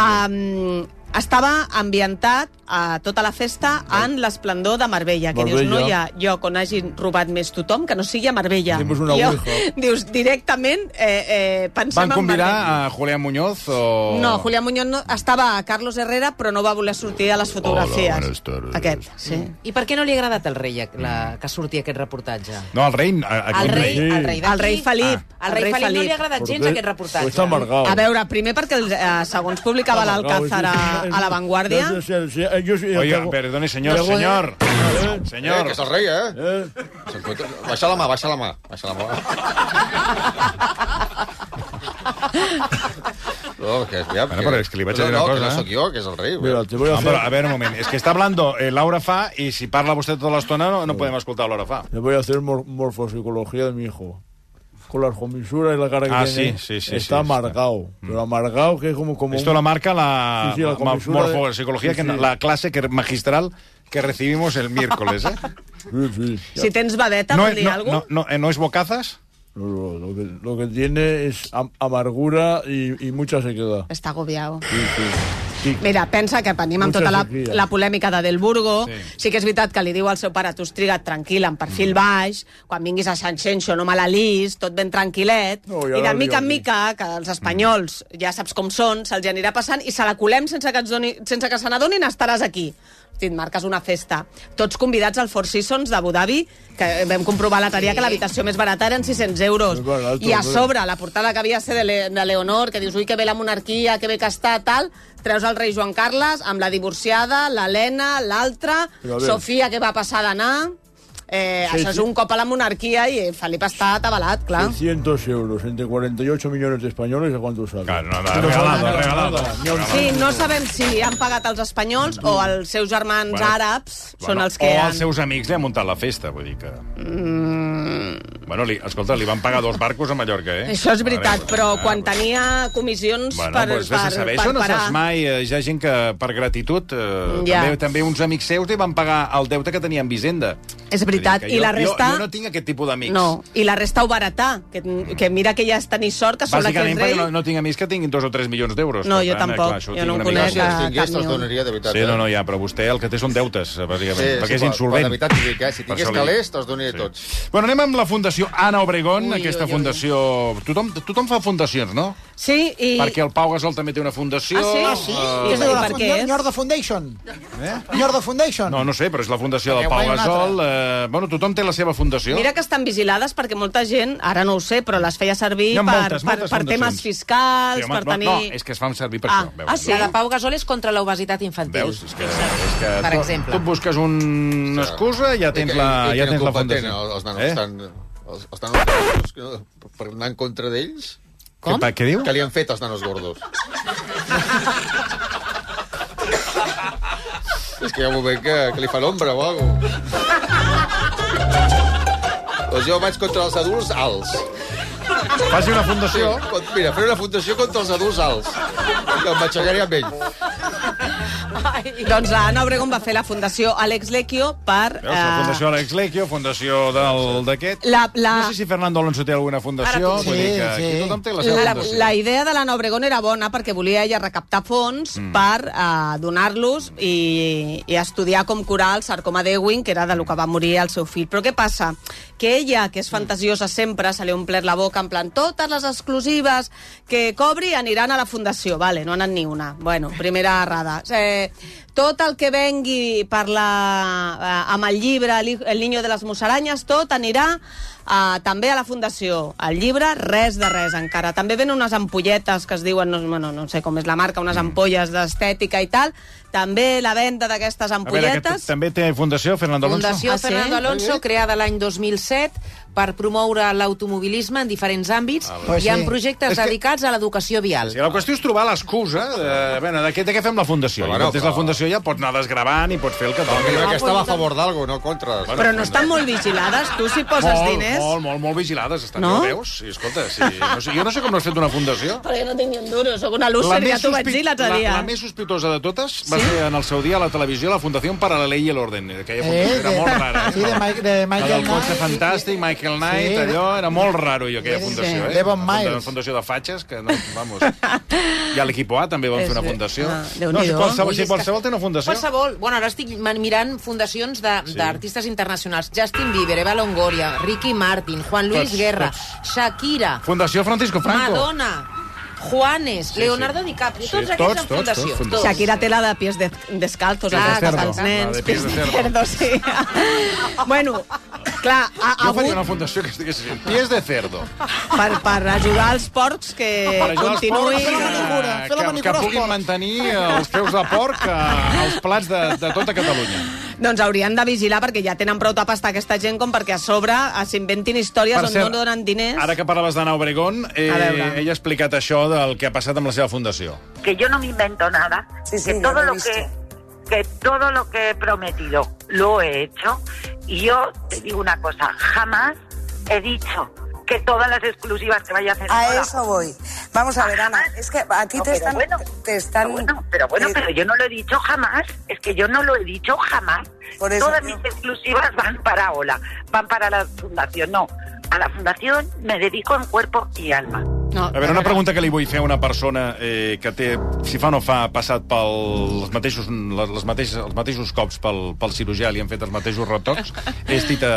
[SPEAKER 8] Um, estava ambientat a tota la festa
[SPEAKER 2] Ah.
[SPEAKER 8] en l'esplendor de Marbella, que dius,
[SPEAKER 11] Marbella.
[SPEAKER 8] no hi ha lloc on hagin robat més tothom que no sigui a Marbella.
[SPEAKER 2] Hicimos una
[SPEAKER 8] Jo-
[SPEAKER 2] ouija.
[SPEAKER 8] dius, directament eh, eh, pensem
[SPEAKER 2] Van
[SPEAKER 8] en Marbella.
[SPEAKER 2] convidar a Julián Muñoz o...
[SPEAKER 8] No, Julián Muñoz no, estava a Carlos Herrera, però no va voler sortir a les fotografies.
[SPEAKER 2] Hola, buenas tardes.
[SPEAKER 8] Aquest, sí.
[SPEAKER 3] I per què no li ha agradat al rei la, que surti aquest reportatge?
[SPEAKER 2] No, el rei...
[SPEAKER 3] Al rei, al rei d'aquí. Ah.
[SPEAKER 8] Al rei Felip.
[SPEAKER 3] Al rei, Felip, no li ha agradat gens aquest reportatge.
[SPEAKER 11] amargado.
[SPEAKER 8] A veure, primer perquè, els, eh, segons publicava l'Alcázar a, a La Vanguardia...
[SPEAKER 11] Sí, sí, sí, eh, yo sí, yo
[SPEAKER 2] Oiga,
[SPEAKER 11] tengo-
[SPEAKER 2] perdone, señor,
[SPEAKER 11] Luego-
[SPEAKER 2] señor.
[SPEAKER 7] Eh,
[SPEAKER 2] Señor.
[SPEAKER 7] que es el rey, ¿eh? Se encuentra- Baixa la mà, baixa la mà. Baixa la mà. No, que, mira,
[SPEAKER 2] Bueno, però és que li vaig
[SPEAKER 7] no,
[SPEAKER 2] dir una
[SPEAKER 7] no,
[SPEAKER 2] cosa,
[SPEAKER 7] Que no
[SPEAKER 2] eh?
[SPEAKER 7] sóc jo, que és el rei.
[SPEAKER 11] Mira, te voy a
[SPEAKER 2] No,
[SPEAKER 11] hacer-
[SPEAKER 2] però, a veure, un moment. És que està hablando eh, Laura Fa i si parla vostè tota l'estona no, no podem escoltar Laura Fa.
[SPEAKER 11] Le voy a hacer mor- morfopsicología de mi hijo. Con las comisuras y la cara que
[SPEAKER 2] Ah,
[SPEAKER 11] tiene.
[SPEAKER 2] sí, sí, sí,
[SPEAKER 11] Está
[SPEAKER 2] sí,
[SPEAKER 11] amargado. Pero amargado que es como... como
[SPEAKER 2] Esto
[SPEAKER 11] un-
[SPEAKER 2] la marca la,
[SPEAKER 11] Sí, sí, la
[SPEAKER 2] ma-
[SPEAKER 11] comisura de-
[SPEAKER 2] morfopsicología,
[SPEAKER 11] Sí,
[SPEAKER 2] que,
[SPEAKER 11] sí.
[SPEAKER 2] la clase que, magistral que recibimos el miércoles, eh?
[SPEAKER 11] Sí, sí.
[SPEAKER 8] Si tens vedeta,
[SPEAKER 2] No,
[SPEAKER 8] vol
[SPEAKER 2] eh,
[SPEAKER 8] dir
[SPEAKER 2] no,
[SPEAKER 8] alguna
[SPEAKER 2] no, no, eh, ¿no es bocazas?
[SPEAKER 11] No, no, lo, que, lo que tiene es am- amargura y, y mucha sequedad.
[SPEAKER 8] Está agobiado.
[SPEAKER 11] Sí, sí.
[SPEAKER 2] estic...
[SPEAKER 8] Mira, pensa que venim amb
[SPEAKER 2] Muchas
[SPEAKER 8] tota la,
[SPEAKER 2] sequías.
[SPEAKER 8] la polèmica de Del Burgo.
[SPEAKER 2] Sí.
[SPEAKER 8] Sí. que és veritat que li diu al seu pare, tu estriga't tranquil, amb
[SPEAKER 12] Mm.
[SPEAKER 8] perfil baix, quan vinguis a San Xenxo no me la lis, tot ben tranquil·let.
[SPEAKER 12] No, ja
[SPEAKER 8] I
[SPEAKER 12] la
[SPEAKER 8] de mica en
[SPEAKER 12] lio
[SPEAKER 8] mica, que els espanyols ja saps com són, se'ls hi anirà passant i se la colem sense que, ens doni, sense que se n'adonin, estaràs aquí. Hosti, et marques una festa. Tots convidats al Four Seasons d'Abu Dhabi, que vam comprovar l'altre dia que l'habitació més barata eren 600 euros.
[SPEAKER 12] barato,
[SPEAKER 8] I a
[SPEAKER 12] hombre.
[SPEAKER 8] sobre, la portada que havia de ser de, Le de Leonor, que dius, ui, que bé la monarquia, que bé que està, tal, treus el rei Joan Carles amb la divorciada, l'Helena, l'altra,
[SPEAKER 12] Però a veure.
[SPEAKER 8] Sofia, que va passar d'anar... Eh,
[SPEAKER 11] Sí,
[SPEAKER 8] això és
[SPEAKER 11] sí.
[SPEAKER 8] un cop a la monarquia i eh, Felip està atabalat, clar.
[SPEAKER 11] 600 euros entre 48 millones de españoles, ¿a cuánto sale? Claro,
[SPEAKER 2] nada, regalado, regalado.
[SPEAKER 8] Sí, no sabem si han pagat els espanyols o els seus germans
[SPEAKER 2] Bueno,
[SPEAKER 8] àrabs són els que
[SPEAKER 2] o
[SPEAKER 8] han...
[SPEAKER 2] els seus amics li han muntat la festa, vull dir que...
[SPEAKER 8] Mm,
[SPEAKER 2] Bueno, li, escolta, li van pagar dos barcos a Mallorca, eh?
[SPEAKER 8] Això és veritat,
[SPEAKER 2] Mare
[SPEAKER 8] però quan tenia comissions
[SPEAKER 2] Bueno,
[SPEAKER 8] per,
[SPEAKER 2] doncs vés a
[SPEAKER 8] per,
[SPEAKER 2] saber,
[SPEAKER 8] per
[SPEAKER 2] això no
[SPEAKER 8] parar...
[SPEAKER 2] saps mai. eh, Hi ha gent que, per gratitud, eh,
[SPEAKER 8] Ja.
[SPEAKER 2] també, també uns amics seus li van pagar el deute que tenien Vicenda.
[SPEAKER 8] És veritat,
[SPEAKER 2] Vull dir que
[SPEAKER 8] i la resta...
[SPEAKER 2] Jo, jo no tinc aquest tipus d'amics.
[SPEAKER 8] No, i la resta ho baratà, que, que mira que ja és tenir sort que sobre aquest
[SPEAKER 2] Bàsicament
[SPEAKER 8] rei...
[SPEAKER 2] perquè no, no tinc amics que tinguin dos o tres milions d'euros.
[SPEAKER 8] No,
[SPEAKER 2] Per
[SPEAKER 8] jo
[SPEAKER 2] tant,
[SPEAKER 8] tampoc.
[SPEAKER 2] això ho
[SPEAKER 8] Jo
[SPEAKER 2] tinc
[SPEAKER 8] no en
[SPEAKER 2] una mica
[SPEAKER 8] conec
[SPEAKER 2] clar.
[SPEAKER 8] a Si tingués, cap ni te'ls un.
[SPEAKER 7] donaria, de veritat, eh?
[SPEAKER 2] Sí, no, no, ja, però vostè el que té són deutes, eh, bàsicament,
[SPEAKER 7] Sí, sí,
[SPEAKER 2] perquè és
[SPEAKER 7] però-
[SPEAKER 2] insolvent.
[SPEAKER 7] però de veritat t'ho dic, eh, si
[SPEAKER 2] Per
[SPEAKER 7] tingués
[SPEAKER 2] això li-
[SPEAKER 7] calés, te'ls donaria tots.
[SPEAKER 2] Bueno, anem amb la Fundació Anna Obregón,
[SPEAKER 7] Ui,
[SPEAKER 2] aquesta
[SPEAKER 7] ui, ui.
[SPEAKER 2] fundació... Tothom, tothom fa fundacions, no?
[SPEAKER 8] Sí, i...
[SPEAKER 2] Perquè el Pau Gasol també té una fundació.
[SPEAKER 4] Ah, sí?
[SPEAKER 2] eh,
[SPEAKER 4] I es diu la Funda- Nyorda Foundation. Eh? Nyorda Foundation.
[SPEAKER 2] No, no sé, però és la fundació del
[SPEAKER 4] Perquè
[SPEAKER 2] Pau
[SPEAKER 4] guanya una
[SPEAKER 2] Gasol. Eh, bueno, tothom té la seva fundació.
[SPEAKER 8] Mira que estan vigilades perquè molta gent, ara no ho sé, però les feia servir
[SPEAKER 2] Hi ha
[SPEAKER 8] per,
[SPEAKER 2] moltes,
[SPEAKER 8] per,
[SPEAKER 2] moltes
[SPEAKER 8] per
[SPEAKER 2] fundacions.
[SPEAKER 8] temes fiscals,
[SPEAKER 2] Sí, home,
[SPEAKER 8] per
[SPEAKER 2] no,
[SPEAKER 8] tenir...
[SPEAKER 2] No, és que es fan servir per això. Veus?
[SPEAKER 3] ah, sí? La de Pau Gasol és contra l'obesitat infantil.
[SPEAKER 2] Veus? És que, és que
[SPEAKER 3] Per
[SPEAKER 2] tu,
[SPEAKER 3] exemple.
[SPEAKER 2] tu et busques un, una excusa i ja tens la,
[SPEAKER 7] I
[SPEAKER 2] ja
[SPEAKER 7] tenen
[SPEAKER 2] tens la
[SPEAKER 7] culpa,
[SPEAKER 2] fundació.
[SPEAKER 7] tenen, Els nanos eh? estan... Els, els nanos gordos, que, per anar en contra d'ells...
[SPEAKER 2] Com? Què, què diu?
[SPEAKER 7] Que li han fet els nanos gordos. És que hi ha un moment que, que li fa l'ombra o alguna cosa. Doncs jo vaig contra els adults alts.
[SPEAKER 2] Faci una fundació.
[SPEAKER 7] Sí, con- mira, faré una fundació contra els adults alts. Que em matxacaré amb ell.
[SPEAKER 8] Doncs l'Anna Obregón va fer la Fundació Alex Lecchio per...
[SPEAKER 2] Veus, Ah, la
[SPEAKER 8] eh,
[SPEAKER 2] fundació Alex Lecchio, fundació del- d'aquest...
[SPEAKER 8] La- la-
[SPEAKER 2] No sé si Fernando Alonso té alguna fundació.
[SPEAKER 8] Ara tu-
[SPEAKER 2] vull dir
[SPEAKER 8] Sí,
[SPEAKER 2] que aquí
[SPEAKER 8] sí.
[SPEAKER 2] tothom té la seva
[SPEAKER 8] La,
[SPEAKER 2] fundació.
[SPEAKER 8] la idea de l'Anna Obregón era bona perquè volia ella recaptar fons mm. per uh, donar-los i, i estudiar com curar el sarcoma d'Ewing, que era de lo que va morir el seu fill. Però què passa? Que ella, que és fantasiosa sempre, se li ha omplert la boca en plan totes les exclusives que cobri aniran a la Fundació. Vale, no han anat ni una. Bueno, primera errada. Eh, tot el que vengui per la, eh, amb el llibre El hij- El niño de les musaranyes, tot anirà Uh, també a la Fundació. El llibre, res de res encara. També venen unes ampolletes que es diuen, no, bueno, no sé com és la marca,
[SPEAKER 2] Mm.
[SPEAKER 8] unes ampolles d'estètica i tal. També la venda d'aquestes
[SPEAKER 2] A veure, que
[SPEAKER 8] ampolletes.
[SPEAKER 2] t- també té fundació Fernando Alonso?
[SPEAKER 3] Fundació
[SPEAKER 8] Ah, sí?
[SPEAKER 3] Fernando Alonso,
[SPEAKER 8] Sí.
[SPEAKER 3] creada l'any 2007 per promoure l'automobilisme en diferents àmbits.
[SPEAKER 2] Ah, va.
[SPEAKER 3] Hi ha
[SPEAKER 2] Sí.
[SPEAKER 3] projectes
[SPEAKER 2] És que-
[SPEAKER 3] dedicats a l'educació vial.
[SPEAKER 2] Sí, la qüestió és trobar l'excusa de, bueno, de, què, de què fem la fundació. Però,
[SPEAKER 7] bueno,
[SPEAKER 2] bueno, tens la fundació ja pots anar desgravant i pots fer el que
[SPEAKER 7] Però
[SPEAKER 2] toqui.
[SPEAKER 7] mira que estava a favor d'algo, no contra.
[SPEAKER 8] Però no estan molt vigilades? Tu si poses
[SPEAKER 2] doncs, molt,
[SPEAKER 8] diners...
[SPEAKER 2] Molt, molt, molt vigilades estan, no?
[SPEAKER 8] No?
[SPEAKER 2] veus? I, escolta, si, no sé, jo no sé com no has fet una fundació.
[SPEAKER 8] Però jo no tinc ni un duro, sóc una loser, ja t'ho vaig
[SPEAKER 2] sospit-
[SPEAKER 8] dir l'altre
[SPEAKER 2] la,
[SPEAKER 8] dia.
[SPEAKER 2] la més sospitosa de totes va ser en el seu dia a la televisió la Fundació para la Ley y el Orden. Aquella fundació
[SPEAKER 4] Eh,
[SPEAKER 2] era
[SPEAKER 4] de-
[SPEAKER 2] molt rara. Eh?
[SPEAKER 4] sí, de Mike- de Michael
[SPEAKER 2] El cotxe fantàstic, Michael Knight,
[SPEAKER 4] Sí, de-
[SPEAKER 2] allò, era molt raro, jo, aquella
[SPEAKER 4] Sí,
[SPEAKER 2] fundació.
[SPEAKER 4] sí.
[SPEAKER 2] Eh?
[SPEAKER 4] Devon
[SPEAKER 2] Una funda-
[SPEAKER 4] Miles.
[SPEAKER 2] Una fundació de fatxes que no, vamos... I a l'Equipo A també van
[SPEAKER 3] És
[SPEAKER 2] fer una
[SPEAKER 3] ver-
[SPEAKER 2] fundació.
[SPEAKER 3] Ah,
[SPEAKER 2] no, si
[SPEAKER 3] Déu-n'hi-do.
[SPEAKER 2] qualsevol,
[SPEAKER 3] Ui,
[SPEAKER 2] si
[SPEAKER 3] és
[SPEAKER 2] qualsevol
[SPEAKER 3] que-
[SPEAKER 2] té una fundació.
[SPEAKER 3] Qualsevol. Bueno, ara estic man- mirant fundacions de- d'artistes sí. internacionals. Justin Bieber, Eva Longoria, Ricky Martin, Juan Luis
[SPEAKER 2] Tots,
[SPEAKER 3] Guerra,
[SPEAKER 2] tots.
[SPEAKER 3] Shakira,
[SPEAKER 2] Fundació Francisco Franco.
[SPEAKER 3] Madonna, Juanes,
[SPEAKER 2] Sí,
[SPEAKER 3] Leonardo DiCaprio.
[SPEAKER 2] Sí,
[SPEAKER 3] Tots aquests
[SPEAKER 2] tots,
[SPEAKER 3] en
[SPEAKER 2] tots, tots,
[SPEAKER 3] fundació.
[SPEAKER 2] fundació.
[SPEAKER 8] Shakira té la de pies de, descalzos,
[SPEAKER 2] Clar,
[SPEAKER 8] aquesta
[SPEAKER 2] cerdo.
[SPEAKER 8] dels
[SPEAKER 2] La
[SPEAKER 8] nens.
[SPEAKER 2] de pies de cerdo.
[SPEAKER 8] sí. bueno, clar, ha, ha
[SPEAKER 2] Jo faria
[SPEAKER 8] hagut
[SPEAKER 2] una fundació que estigués així. Pies de cerdo.
[SPEAKER 8] per, per ajudar els porcs que
[SPEAKER 2] Per ajudar els
[SPEAKER 8] continuïn...
[SPEAKER 2] porcs, eh, que, que puguin mantenir els peus de porc eh, als plats de, de tota Catalunya.
[SPEAKER 8] Doncs haurien de vigilar perquè ja tenen prou de pasta aquesta gent com perquè a sobre eh, s'inventin històries
[SPEAKER 2] Per
[SPEAKER 8] on
[SPEAKER 2] cert,
[SPEAKER 8] no donen diners.
[SPEAKER 2] Ara que parlaves d'Anna Obregón, eh,
[SPEAKER 8] A veure.
[SPEAKER 2] ella ha explicat això del que ha passat amb la seva fundació.
[SPEAKER 13] que yo no me invento nada, que todo lo, que que todo lo que he prometido lo he hecho y yo te digo una cosa, jamás he dicho que todas las exclusivas que vaya a hacer
[SPEAKER 14] A
[SPEAKER 13] ahora-
[SPEAKER 14] eso voy. Vamos a ver, Ana, es que a ti
[SPEAKER 13] No,
[SPEAKER 14] te
[SPEAKER 13] pero
[SPEAKER 14] están...
[SPEAKER 13] bueno,
[SPEAKER 14] te están
[SPEAKER 13] pero
[SPEAKER 14] Eh,
[SPEAKER 13] bueno, pero yo no lo he dicho jamás, es que yo no lo he dicho jamás.
[SPEAKER 14] Por eso
[SPEAKER 13] todas
[SPEAKER 14] yo-
[SPEAKER 13] mis exclusivas van para Ola, van para la fundación, no. A la fundación me dedico en cuerpo y alma.
[SPEAKER 8] No,
[SPEAKER 2] A veure, una pregunta que li vull fer a una persona eh, que té, si fa o no fa, ha passat pels mateixos, les, les mateixes, els mateixos cops pel, pel cirurgià, li han fet els mateixos retocs, és Tita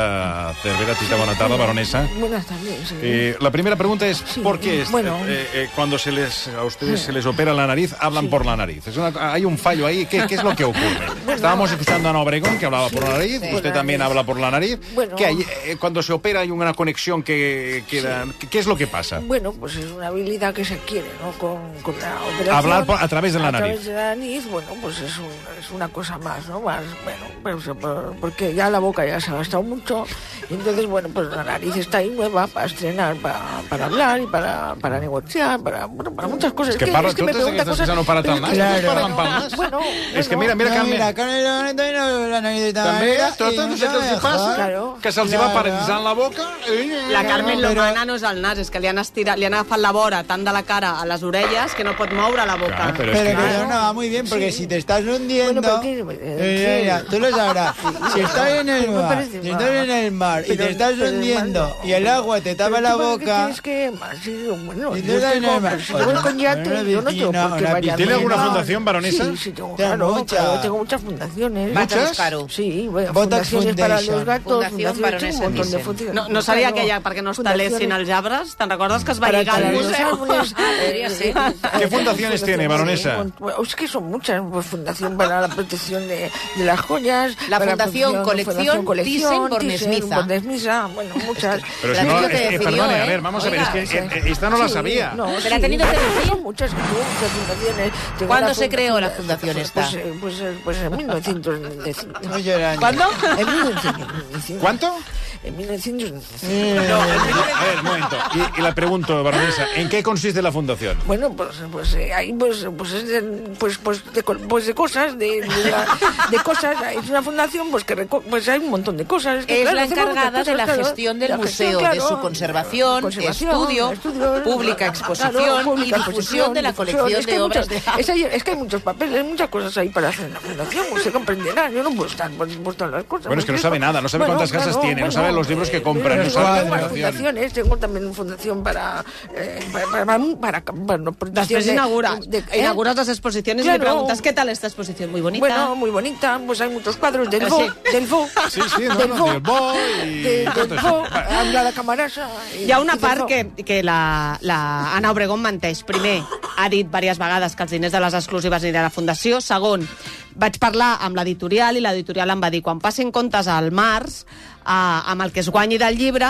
[SPEAKER 2] Cervera, Tita Bonatada, baronesa.
[SPEAKER 12] Buenas tardes.
[SPEAKER 2] Eh, la primera pregunta es, ¿por qué es-
[SPEAKER 12] bueno.
[SPEAKER 2] eh, eh, cuando se les, a ustedes se les opera la nariz, hablan por la nariz? Es una- hay un fallo ahí. ¿Qué, qué es lo que ocurre? Estábamos escuchando a Ana Obregón, que hablaba por la nariz.
[SPEAKER 12] sí.
[SPEAKER 2] Usted también habla por la nariz.
[SPEAKER 12] Bueno.
[SPEAKER 2] ¿Qué hay, eh, cuando se opera hay una conexión que queda... ¿Qué, qué es lo que pasa?
[SPEAKER 12] Bueno, pues es una habilidad que se adquiere, ¿no? Con, con la operación.
[SPEAKER 2] Hablar por- a través de la
[SPEAKER 12] A
[SPEAKER 2] nariz.
[SPEAKER 12] través de la nariz, bueno, pues es, un- es una cosa más, ¿no? Más, bueno, pues, por- porque ya la boca ya se ha gastado mucho. y entonces, bueno, pues la nariz está ahí nueva para estrenar, para, para hablar y para, para negociar, para, bueno, para muchas cosas.
[SPEAKER 2] Es que parla-
[SPEAKER 12] me
[SPEAKER 2] tu tens
[SPEAKER 12] pregunta
[SPEAKER 2] aquestes que no para tan
[SPEAKER 12] pero-
[SPEAKER 2] mal. Claro. Parlen pel nas.
[SPEAKER 12] Bueno,
[SPEAKER 2] És que mira, mira,
[SPEAKER 4] No,
[SPEAKER 2] Carmen.
[SPEAKER 4] Mira, Carmen, la maneta y no- la nariz de esta
[SPEAKER 2] També,
[SPEAKER 4] manera,
[SPEAKER 2] a totes
[SPEAKER 4] y no
[SPEAKER 2] vosaltres
[SPEAKER 4] sabe
[SPEAKER 2] els hi passa
[SPEAKER 4] dejar.
[SPEAKER 2] que se'ls hi va
[SPEAKER 4] Claro.
[SPEAKER 2] paralitzant la boca... Ah.
[SPEAKER 8] La Carmen Lomana no és el nas, és que li han, estirat, li han agafat la vora tant de la cara a les orelles que no pot moure la boca.
[SPEAKER 2] Ah,
[SPEAKER 4] Pero, que no va muy bien porque si te estás hundiendo.
[SPEAKER 15] Eh,
[SPEAKER 4] Mira,
[SPEAKER 8] ¿qué?
[SPEAKER 4] mira, tú lo sabrás. Si estás en el
[SPEAKER 12] Me
[SPEAKER 4] mar,
[SPEAKER 12] parece
[SPEAKER 4] si
[SPEAKER 12] mal.
[SPEAKER 4] estás en el mar y
[SPEAKER 12] Pero-
[SPEAKER 4] te estás
[SPEAKER 12] pero el mar
[SPEAKER 4] hundiendo
[SPEAKER 12] no.
[SPEAKER 4] y el agua te tapa la
[SPEAKER 12] Pero tú para
[SPEAKER 4] boca.
[SPEAKER 12] qué tienes que más? Sí, bueno,
[SPEAKER 4] Si
[SPEAKER 12] yo
[SPEAKER 4] tú estás
[SPEAKER 12] estoy
[SPEAKER 4] en el
[SPEAKER 12] con-
[SPEAKER 4] mar.
[SPEAKER 12] si voy con yate,
[SPEAKER 4] una
[SPEAKER 12] yo no
[SPEAKER 4] piscina,
[SPEAKER 12] tengo por qué
[SPEAKER 4] una
[SPEAKER 12] bañarme.
[SPEAKER 4] piscina.
[SPEAKER 12] Sí, sí, tengo,
[SPEAKER 4] Tengo
[SPEAKER 12] claro,
[SPEAKER 4] mucha.
[SPEAKER 12] claro, tengo muchas fundaciones.
[SPEAKER 4] ¿Muchas? Vata Mascaro.
[SPEAKER 12] Sí, bueno,
[SPEAKER 4] Botox
[SPEAKER 12] fundaciones para los
[SPEAKER 4] Foundation.
[SPEAKER 12] gatos,
[SPEAKER 4] Fundación
[SPEAKER 12] fundaciones, sí, un
[SPEAKER 4] Baronesa
[SPEAKER 12] montón de
[SPEAKER 4] Thyssen.
[SPEAKER 12] fundaciones.
[SPEAKER 8] No, no seria
[SPEAKER 12] Claro.
[SPEAKER 8] aquella perquè no es talessin els arbres? Te'n recordes que es va
[SPEAKER 12] Para
[SPEAKER 8] lligar al
[SPEAKER 12] talar los
[SPEAKER 8] museu?
[SPEAKER 12] árboles. Podría ser.
[SPEAKER 2] ¿Qué fundaciones tiene, baronesa?
[SPEAKER 12] Bueno, es que son muchas. Pues, fundación para la protección de, de las joyas.
[SPEAKER 3] La
[SPEAKER 12] para
[SPEAKER 3] Fundación Colección Thyssen Bornemisza.
[SPEAKER 12] Bornemisza, bueno, muchas.
[SPEAKER 2] Pero si no, eh, eh, perdone, a ver, vamos a ver, es que
[SPEAKER 12] Oiga,
[SPEAKER 2] eh, eh, esta no la
[SPEAKER 12] sí,
[SPEAKER 2] sabía.
[SPEAKER 12] no,
[SPEAKER 3] Pero ha tenido que
[SPEAKER 12] decir. Muchas, muchas fundaciones. Tengo
[SPEAKER 3] ¿Cuándo
[SPEAKER 12] la
[SPEAKER 3] se
[SPEAKER 12] funda-
[SPEAKER 3] creó la fundación esta?
[SPEAKER 12] Pues, eh, pues, eh, pues en 1995.
[SPEAKER 3] ¿Cuándo?
[SPEAKER 12] En 1995.
[SPEAKER 2] ¿Cuánto?
[SPEAKER 12] En 1995.
[SPEAKER 2] A ver, un momento. Y, y la pregunto, baronesa, ¿en qué consiste la fundación?
[SPEAKER 12] Bueno, pues, pues eh, ahí pues, pues, es de- pues, pues, de, co- pues de cosas, de, de, la- de cosas. Es una fundación pues que reco- pues hay un montón de cosas. que,
[SPEAKER 3] Es
[SPEAKER 12] claro,
[SPEAKER 3] la
[SPEAKER 12] hacemos
[SPEAKER 3] encargada
[SPEAKER 12] muchas
[SPEAKER 3] de la
[SPEAKER 12] cosas,
[SPEAKER 3] gestión del
[SPEAKER 12] la
[SPEAKER 3] museo,
[SPEAKER 12] gestión,
[SPEAKER 3] de su
[SPEAKER 12] claro,
[SPEAKER 3] conservación,
[SPEAKER 12] conservación,
[SPEAKER 3] estudio,
[SPEAKER 12] estudio,
[SPEAKER 3] pública
[SPEAKER 12] claro,
[SPEAKER 3] exposición
[SPEAKER 12] pública
[SPEAKER 3] y difusión
[SPEAKER 12] exposición,
[SPEAKER 3] de la
[SPEAKER 12] difusión.
[SPEAKER 3] colección
[SPEAKER 12] Es que
[SPEAKER 3] de
[SPEAKER 12] hay
[SPEAKER 3] obras
[SPEAKER 12] muchos-
[SPEAKER 3] de arte.
[SPEAKER 12] es, ahí- es que hay muchos papeles, muchas cosas ahí para hacer en la fundación, se comprenderá. Yo no puedo estar por, por todas las cosas.
[SPEAKER 2] Bueno, es que no
[SPEAKER 12] porque
[SPEAKER 2] sabe
[SPEAKER 12] esto-
[SPEAKER 2] nada, no sabe cuántas casas tiene, no sabe los libros que
[SPEAKER 12] eh,
[SPEAKER 2] compra,
[SPEAKER 12] yo
[SPEAKER 2] no
[SPEAKER 12] tengo
[SPEAKER 2] sabe
[SPEAKER 12] las
[SPEAKER 2] las fundaciones.
[SPEAKER 12] fundaciones, tengo también una fundación para... eh, para, para, para, bueno, protección
[SPEAKER 8] Després
[SPEAKER 12] de-
[SPEAKER 8] inaugura,
[SPEAKER 12] de- ¿eh?
[SPEAKER 8] inaugures les exposicions i
[SPEAKER 12] Claro.
[SPEAKER 8] li preguntes què tal esta exposició, muy bonita.
[SPEAKER 12] Bueno, muy bonita, pues hay muchos cuadros del
[SPEAKER 8] Sí.
[SPEAKER 12] Bo, del Bo,
[SPEAKER 8] Sí, sí, no,
[SPEAKER 12] del
[SPEAKER 8] no,
[SPEAKER 12] Bo,
[SPEAKER 8] del Bo y
[SPEAKER 12] de-
[SPEAKER 8] tot
[SPEAKER 12] del
[SPEAKER 8] això.
[SPEAKER 12] Bo, habla la camarasa. i-
[SPEAKER 8] Hi ha una
[SPEAKER 12] i del
[SPEAKER 8] part
[SPEAKER 12] Bo.
[SPEAKER 8] que, que la, la Ana Obregón menteix. Primer, ha dit diverses vegades que els diners de les exclusives aniran a la Fundació. Segon, vaig parlar amb l'editorial i l'editorial em va dir quan passin comptes al març, eh, amb el que es guanyi del llibre,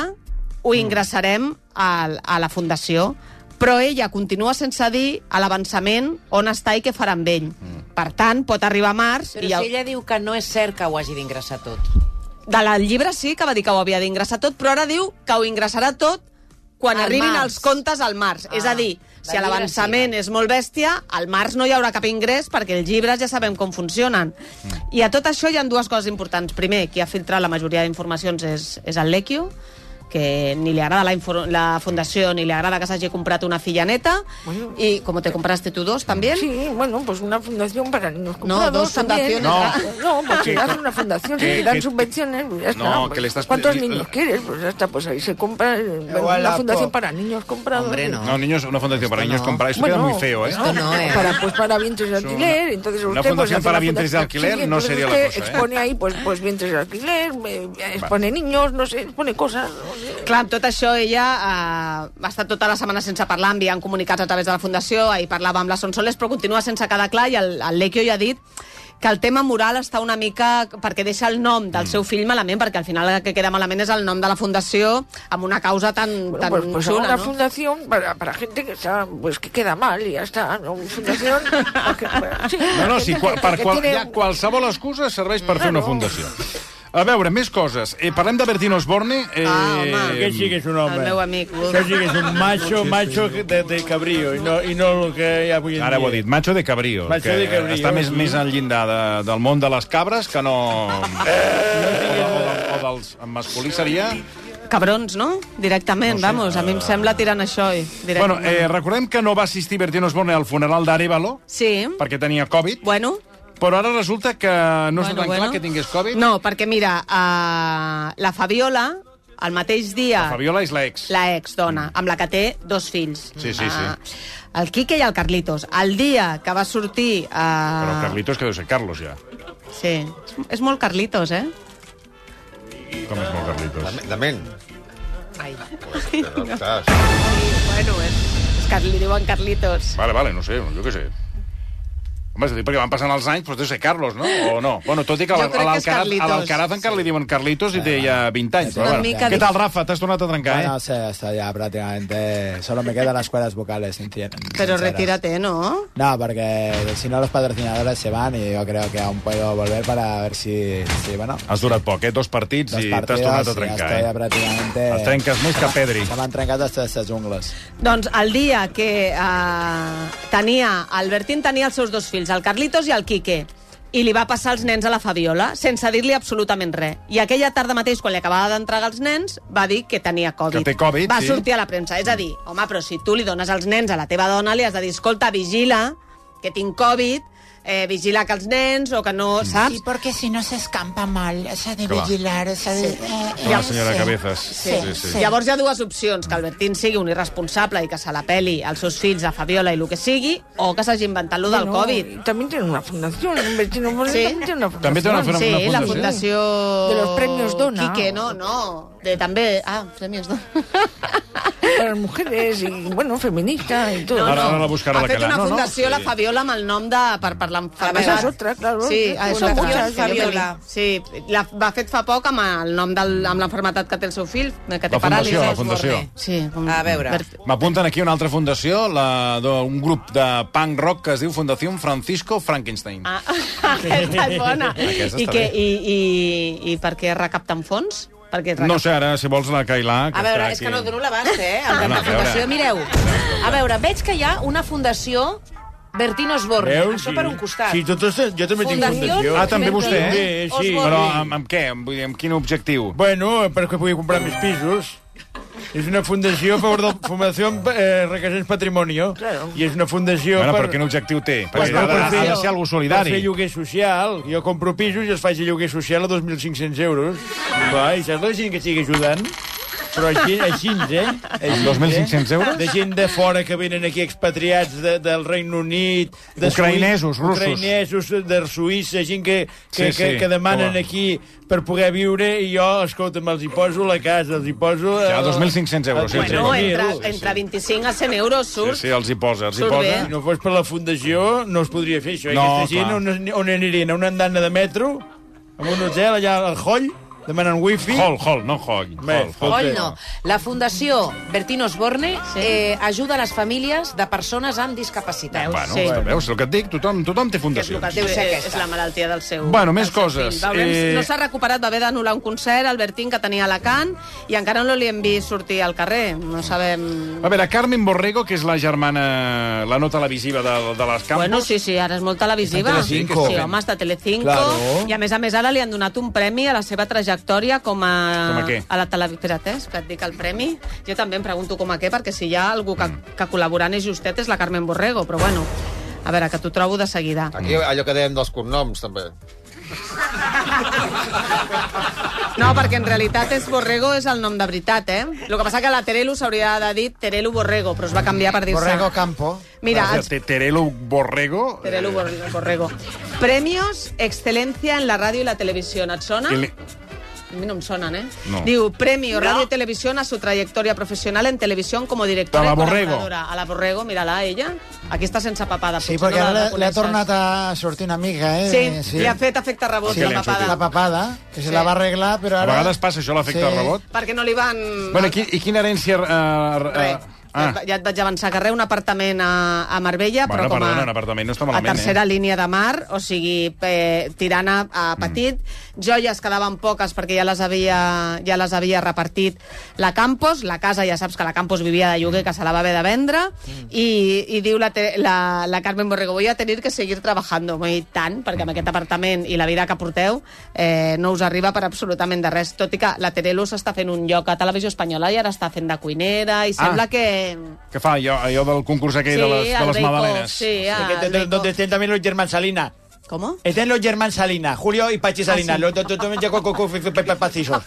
[SPEAKER 8] ho ingressarem a, a la Fundació. Però ella continua sense dir a l'avançament on està i què farà amb ell. Per tant, pot arribar a març...
[SPEAKER 3] Però
[SPEAKER 8] i
[SPEAKER 3] si ella diu que no és cert que ho hagi d'ingressar tot.
[SPEAKER 8] de la- el llibre sí que va dir que ho havia d'ingressar tot, però ara diu que ho ingressarà tot quan
[SPEAKER 3] Al
[SPEAKER 8] arribin
[SPEAKER 3] març.
[SPEAKER 8] els comptes al març. és a dir, si
[SPEAKER 3] del llibre
[SPEAKER 8] l'avançament és molt bèstia, al març no hi haurà cap ingrés perquè els llibres ja sabem com funcionen.
[SPEAKER 3] Mm.
[SPEAKER 8] I a tot això hi han dues coses importants. Primer, qui ha filtrat la majoria d'informacions és, és el Lequio, que ni li agrada la, infor- la fundació ni li agrada que s'hagi comprat una filla neta
[SPEAKER 12] Bueno.
[SPEAKER 8] i com te compraste tu dos també
[SPEAKER 12] Sí, bueno, pues una fundación para niños
[SPEAKER 8] no,
[SPEAKER 12] comprados
[SPEAKER 8] dos
[SPEAKER 12] también.
[SPEAKER 8] fundaciones
[SPEAKER 12] No, pues si
[SPEAKER 2] Que-
[SPEAKER 12] das una fundación, si
[SPEAKER 2] que-
[SPEAKER 12] te dan
[SPEAKER 2] que-
[SPEAKER 12] subvenciones, pues ya está.
[SPEAKER 2] No,
[SPEAKER 12] pues,
[SPEAKER 2] que le estás-
[SPEAKER 12] ¿Cuántos
[SPEAKER 2] le-
[SPEAKER 12] niños quieres? Pues ya está, pues ahí se compra eh, bueno,
[SPEAKER 2] Igual
[SPEAKER 12] una
[SPEAKER 2] la
[SPEAKER 12] fundación
[SPEAKER 2] po-
[SPEAKER 12] para niños comprados. eh.
[SPEAKER 2] No, niños, una fundación para niños comprar. Esto queda
[SPEAKER 12] Bueno,
[SPEAKER 2] muy feo, ¿eh?
[SPEAKER 12] Para, pues, para vientres de
[SPEAKER 2] una-
[SPEAKER 12] alquiler, entonces
[SPEAKER 2] una
[SPEAKER 12] usted, pues,
[SPEAKER 2] fundación
[SPEAKER 12] hace
[SPEAKER 2] para
[SPEAKER 12] una
[SPEAKER 2] vientres de
[SPEAKER 12] fundación.
[SPEAKER 2] alquiler no
[SPEAKER 12] entonces
[SPEAKER 2] sería la
[SPEAKER 12] usted
[SPEAKER 2] cosa, ¿eh?
[SPEAKER 12] expone ahí, pues, pues vientres de alquiler, eh, expone niños, no sé, expone cosas. no sé.
[SPEAKER 8] Clar, amb tot això ella eh, ha estat tota la setmana sense parlar, enviant comunicats a través de la Fundació, ahir parlava amb la Sonsoles, però continua sense quedar clar i el, el Lequio ja ha dit que el tema moral està una mica... perquè deixa el nom del seu fill malament, perquè al final el que queda malament és el nom de la Fundació amb una causa tan, tan
[SPEAKER 12] Pues, pues hago
[SPEAKER 8] xula,
[SPEAKER 12] una
[SPEAKER 8] no?
[SPEAKER 12] fundación para, para gente que está, pues que queda mal y ya está, ¿no? Una fundación.
[SPEAKER 2] No, no, sí, qual, per
[SPEAKER 12] Que
[SPEAKER 2] qual,
[SPEAKER 12] tiene-
[SPEAKER 2] ja, qualsevol excusa serveix per
[SPEAKER 11] Ah,
[SPEAKER 2] fer una fundació. A veure, més coses. Eh, parlem de Bertín Osborne. Eh,
[SPEAKER 11] Ah, home. Aquest sí que és un home.
[SPEAKER 8] El meu amic.
[SPEAKER 11] Això sí que és un macho, macho de, de cabrío, i no, i no el que hi ha avui en
[SPEAKER 2] Ara ho ha
[SPEAKER 11] dia.
[SPEAKER 2] dit, macho de cabrío,
[SPEAKER 11] Macho
[SPEAKER 2] que
[SPEAKER 11] de cabrío,
[SPEAKER 2] està més,
[SPEAKER 11] sí.
[SPEAKER 2] més al llindar de, del món de les cabres que no... Eh! O, de, o, dels en masculí seria...
[SPEAKER 8] Cabrons, no? Directament, no sé, vamos, a mi em sembla tirant això. eh,
[SPEAKER 2] Bueno,
[SPEAKER 8] Directament.
[SPEAKER 2] eh, recordem que no va assistir Bertín Osborne al funeral d'Arevalo
[SPEAKER 8] sí.
[SPEAKER 2] perquè tenia Covid.
[SPEAKER 8] Bueno.
[SPEAKER 2] Però ara resulta que no bueno, està tan bueno. clar que tingués Covid.
[SPEAKER 8] No, perquè mira, uh, la eh, Fabiola el mateix dia...
[SPEAKER 2] La Fabiola és la ex.
[SPEAKER 8] La ex, dona, amb la que té dos fills.
[SPEAKER 2] Sí, sí,
[SPEAKER 8] Ah,
[SPEAKER 2] sí.
[SPEAKER 8] el Quique i el Carlitos. El dia que va sortir... Uh...
[SPEAKER 2] Però Carlitos, que deu ser Carlos, ja.
[SPEAKER 8] Sí. És molt Carlitos, eh?
[SPEAKER 2] Com és molt Carlitos?
[SPEAKER 7] Dament.
[SPEAKER 8] Ai.
[SPEAKER 7] Estàs.
[SPEAKER 8] bueno, és, és que li diuen Carlitos.
[SPEAKER 2] Vale, vale, no sé, jo què sé. Home, és a dir, perquè van passant els anys, però deu ser Carlos, no? O no? Bueno, tot i que a
[SPEAKER 8] Jo
[SPEAKER 2] la-
[SPEAKER 8] crec
[SPEAKER 2] a
[SPEAKER 8] que és
[SPEAKER 2] l'Alcaraz
[SPEAKER 8] Carlitos.
[SPEAKER 2] a l'Alcaraz encara li diuen Carlitos i té ja 20 anys. Però,
[SPEAKER 15] una
[SPEAKER 2] Pues bueno.
[SPEAKER 15] mica
[SPEAKER 2] Què
[SPEAKER 15] dif-
[SPEAKER 2] tal, Rafa? T'has tornat a trencar, eh?
[SPEAKER 15] Bueno, sí, estoy ya prácticamente... eh, Solo me quedan las cuerdas vocales, sincer-
[SPEAKER 8] Però
[SPEAKER 15] sinceras.
[SPEAKER 8] retírate, no?
[SPEAKER 15] No, porque si no los patrocinadores se van y yo creo que aún puedo volver para ver si, si bueno...
[SPEAKER 2] Has durat poc, eh? Dos partits
[SPEAKER 15] Dos
[SPEAKER 2] i t'has
[SPEAKER 15] partidos
[SPEAKER 2] tornat
[SPEAKER 15] i
[SPEAKER 2] a
[SPEAKER 15] ja
[SPEAKER 2] trencar,
[SPEAKER 15] estoy
[SPEAKER 2] eh?
[SPEAKER 15] ya prácticamente...
[SPEAKER 2] Et trenques més
[SPEAKER 15] Se
[SPEAKER 2] que
[SPEAKER 15] m'ha-
[SPEAKER 2] Pedri.
[SPEAKER 15] Se m'han trencat les aquestes ungles.
[SPEAKER 8] Doncs el dia que eh, tenia... Albertín tenia els seus dos fills, el Carlitos i el Quique, i li va passar els nens a la Fabiola sense dir-li absolutament res. I aquella tarda mateix, quan li acabava d'entregar els nens, va dir que tenia Covid.
[SPEAKER 2] Que té Covid,
[SPEAKER 8] Va
[SPEAKER 2] sí.
[SPEAKER 8] sortir a la premsa. És a dir, home, però si tu li dones els nens a la teva dona, li has de dir, escolta, vigila, que tinc Covid, eh, vigila que els nens, o que no, saps? Sí, perquè si no s'escampa mal, s'ha de
[SPEAKER 2] Mm. Clar. vigilar,
[SPEAKER 8] s'ha de... Eh, Sí.
[SPEAKER 2] Una senyora Cabezas. Sí, sí.
[SPEAKER 8] Llavors hi ha dues opcions, que Albertín sigui un irresponsable i que se la peli als seus fills, a Fabiola i el que sigui, o que s'hagi inventat lo del
[SPEAKER 12] Bueno,
[SPEAKER 8] Covid.
[SPEAKER 12] También tiene una fundación, Albertino Moreno
[SPEAKER 8] Sí.
[SPEAKER 12] también pues, tiene una fundación.
[SPEAKER 2] També té una, una,
[SPEAKER 8] sí,
[SPEAKER 2] una
[SPEAKER 8] la
[SPEAKER 2] fundació.
[SPEAKER 8] Fundació...
[SPEAKER 12] De los Premios Dona.
[SPEAKER 8] Quique, no, no. De, també... Ah, Premios Dona.
[SPEAKER 12] Para las mujeres y, bueno, feminista y todo.
[SPEAKER 2] No, Ahora- no. ahora la buscará
[SPEAKER 8] ha
[SPEAKER 2] la
[SPEAKER 8] fet
[SPEAKER 2] que la-
[SPEAKER 8] una
[SPEAKER 2] no, no,
[SPEAKER 8] fundació,
[SPEAKER 2] sí.
[SPEAKER 8] la Fabiola, amb el nom de... per parlar amb
[SPEAKER 12] Ah, esa es otra, claro.
[SPEAKER 8] Sí,
[SPEAKER 12] Es
[SPEAKER 8] és
[SPEAKER 12] una
[SPEAKER 8] otra.
[SPEAKER 12] fundació,
[SPEAKER 8] Fabiola. Sí, la, va fet fa poc amb el nom del, amb l'enfermetat que té el seu fill, que té paràlisi.
[SPEAKER 2] La fundació, la fundació.
[SPEAKER 8] Sí.
[SPEAKER 2] A
[SPEAKER 8] veure.
[SPEAKER 2] M'apunten aquí una altra fundació, la d'un grup de punk rock que es diu Fundació Francisco Frankenstein.
[SPEAKER 8] Ah, aquesta és bona.
[SPEAKER 2] Aquesta
[SPEAKER 8] I,
[SPEAKER 2] està
[SPEAKER 8] que,
[SPEAKER 2] bé.
[SPEAKER 8] i, i, I per què recapten fons? Perquè
[SPEAKER 2] No sé, ara, si vols, la Cailà...
[SPEAKER 3] A veure, és que no dono l'abast, eh? El
[SPEAKER 2] No,
[SPEAKER 3] de
[SPEAKER 2] no,
[SPEAKER 3] la
[SPEAKER 2] a veure.
[SPEAKER 3] fundació, mireu. A veure, veig que hi ha una fundació Bertín Osborne. Això per un costat.
[SPEAKER 11] Sí, tot això, jo també tinc
[SPEAKER 3] Fundació
[SPEAKER 11] fundació.
[SPEAKER 2] Ah, també vostè, eh?
[SPEAKER 11] Sí, sí.
[SPEAKER 2] Però amb, amb què? Vull dir, amb quin objectiu?
[SPEAKER 11] Bueno, perquè pugui comprar més pisos. És una fundació a favor de la Fundació eh, Requesens Patrimonio. Claro. I és una fundació
[SPEAKER 2] Bueno,
[SPEAKER 11] per...
[SPEAKER 2] però quin objectiu té?
[SPEAKER 11] Pues
[SPEAKER 2] Perquè ha, de,
[SPEAKER 11] per fer-
[SPEAKER 2] ha de ser algú
[SPEAKER 11] Per
[SPEAKER 2] solidari.
[SPEAKER 11] fer lloguer social. Jo compro pisos i els faig lloguer social a 2.500 euros. Va, i saps la gent que estic ajudant? Però així, així eh? Així,
[SPEAKER 2] 2.500
[SPEAKER 11] eh?
[SPEAKER 2] euros?
[SPEAKER 11] De gent de fora que venen aquí expatriats de, del Regne Unit... De
[SPEAKER 2] Ucraïnesos,
[SPEAKER 11] Suï-
[SPEAKER 2] russos.
[SPEAKER 11] Ucraïnesos, de Suïssa, gent que, que,
[SPEAKER 2] Sí,
[SPEAKER 11] que,
[SPEAKER 2] sí,
[SPEAKER 11] que demanen
[SPEAKER 2] home.
[SPEAKER 11] aquí per poder viure i jo, escolta'm, els hi poso la casa, els hi poso...
[SPEAKER 2] Ja,
[SPEAKER 11] el-
[SPEAKER 2] 2.500 euros, sí,
[SPEAKER 11] el-
[SPEAKER 2] sí.
[SPEAKER 8] No,
[SPEAKER 11] Sí,
[SPEAKER 8] entre,
[SPEAKER 11] sí, sí.
[SPEAKER 8] entre 25 a 100 euros
[SPEAKER 2] Sí,
[SPEAKER 8] surt.
[SPEAKER 2] sí, els hi posa, els hi
[SPEAKER 8] Surt
[SPEAKER 2] posa.
[SPEAKER 8] bé.
[SPEAKER 11] Si no fos per la fundació, no es podria fer això. I
[SPEAKER 2] No,
[SPEAKER 11] Aquesta
[SPEAKER 2] clar.
[SPEAKER 11] gent on, es- on anirien? A una andana de metro? A un hotel allà al Holl? Demanant wifi?
[SPEAKER 2] Hol, hol, no hol. Hol,
[SPEAKER 3] Coll no. La Fundació Bertín Osborne eh, ajuda les famílies de persones amb discapacitat.
[SPEAKER 2] Bueno, sí. veus el que et dic? Tothom, tothom té
[SPEAKER 8] És, el
[SPEAKER 2] fundació.
[SPEAKER 8] que té, és, és la malaltia del seu...
[SPEAKER 2] Bueno, més
[SPEAKER 8] del seu
[SPEAKER 2] coses.
[SPEAKER 8] fill. Veurem,
[SPEAKER 2] Eh,
[SPEAKER 8] eh... No s'ha recuperat, va haver d'anul·lar un concert, Albertín, que tenia a Alacant, i encara no li hem vist sortir al carrer. No sabem...
[SPEAKER 2] A veure, Carmen Borrego, que és la germana, la no televisiva de, de les Campos...
[SPEAKER 8] Bueno, sí, sí, ara és molt televisiva.
[SPEAKER 2] Està a Telecinco.
[SPEAKER 8] Sí, home, està a Telecinco.
[SPEAKER 2] Claro.
[SPEAKER 8] I a més a més ara li han donat un premi a la seva trajectòria com a...
[SPEAKER 2] Com a què?
[SPEAKER 8] A la tele... Espera't, eh, és que et dic el premi. Jo també em pregunto com a què, perquè si hi ha algú que,
[SPEAKER 2] Mm.
[SPEAKER 8] que col·laborant és justet és la Carmen Borrego, però bueno... A veure, que t'ho trobo de seguida.
[SPEAKER 7] Aquí allò que dèiem dels cognoms, també.
[SPEAKER 8] No, perquè en realitat és Borrego és el nom de veritat, eh? El que passa que la Terelu s'hauria de dir Terelu Borrego, però es va canviar per dir-se...
[SPEAKER 4] Borrego
[SPEAKER 8] Campo. Mira,
[SPEAKER 2] O sea,
[SPEAKER 8] els...
[SPEAKER 2] Te- Terelu Borrego...
[SPEAKER 8] Terelu Bor- Borrego. Premios Excelencia en la ràdio i la televisió. Et sona?
[SPEAKER 2] que li-
[SPEAKER 8] A mi no em sonen, eh?
[SPEAKER 2] No.
[SPEAKER 8] Diu, premio Radio y Televisión a su trayectoria profesional en televisión como directora
[SPEAKER 2] A la
[SPEAKER 8] y
[SPEAKER 2] Borrego.
[SPEAKER 8] colaboradora. A la Borrego, mírala, a ella. Aquí està sense papada.
[SPEAKER 4] Sí,
[SPEAKER 8] potser
[SPEAKER 4] perquè
[SPEAKER 8] no la
[SPEAKER 4] ara li ha
[SPEAKER 8] reconeixes.
[SPEAKER 4] tornat a sortir una mica, eh?
[SPEAKER 8] Sí, li ha fet efecte rebot,
[SPEAKER 4] Sí,
[SPEAKER 8] la papada.
[SPEAKER 4] La papada, que se
[SPEAKER 8] Sí.
[SPEAKER 4] la va arreglar, però
[SPEAKER 2] A
[SPEAKER 4] ara...
[SPEAKER 2] vegades passa això, l'efecte
[SPEAKER 4] Sí.
[SPEAKER 2] rebot.
[SPEAKER 8] Perquè no li van...
[SPEAKER 2] Bueno, i, qui- i quina herència... Uh,
[SPEAKER 8] Res.
[SPEAKER 2] Ah,
[SPEAKER 8] Ja et vaig avançar que re, un apartament a, a Marbella,
[SPEAKER 2] bueno,
[SPEAKER 8] però com
[SPEAKER 2] perdona, un
[SPEAKER 8] a,
[SPEAKER 2] apartament no està
[SPEAKER 8] a
[SPEAKER 2] malament,
[SPEAKER 8] tercera
[SPEAKER 2] eh?
[SPEAKER 8] línia de mar, o sigui, eh, tirant a, a petit. Joies quedaven poques perquè ja les, havia, ja les havia repartit la Campos. La casa, ja saps que la Campos vivia de lloguer, que se la va haver de vendre. I, i diu la, te- la, la Carmen Borrego, voy a tener que seguir trabajando. Vull dir, tant, perquè amb aquest apartament i la vida que porteu eh, no us arriba per absolutament de res. Tot i que la Terelu s'està fent un lloc a Televisió Espanyola i ara està fent de cuinera i
[SPEAKER 2] Ah.
[SPEAKER 8] sembla que...
[SPEAKER 2] Què fa allò, allò del concurs aquell
[SPEAKER 8] Sí,
[SPEAKER 2] de les,
[SPEAKER 8] el
[SPEAKER 2] de les
[SPEAKER 8] Bake Off,
[SPEAKER 2] magdalenes?
[SPEAKER 8] sí, ah,
[SPEAKER 11] Que-
[SPEAKER 8] el
[SPEAKER 11] que-
[SPEAKER 8] Bake
[SPEAKER 11] Donde estén también los Germán Salina.
[SPEAKER 8] ¿Cómo?
[SPEAKER 11] Están los Germán Salina, Julio y Pachi Salina. Los dos tomen ya coco, coco, pasillos.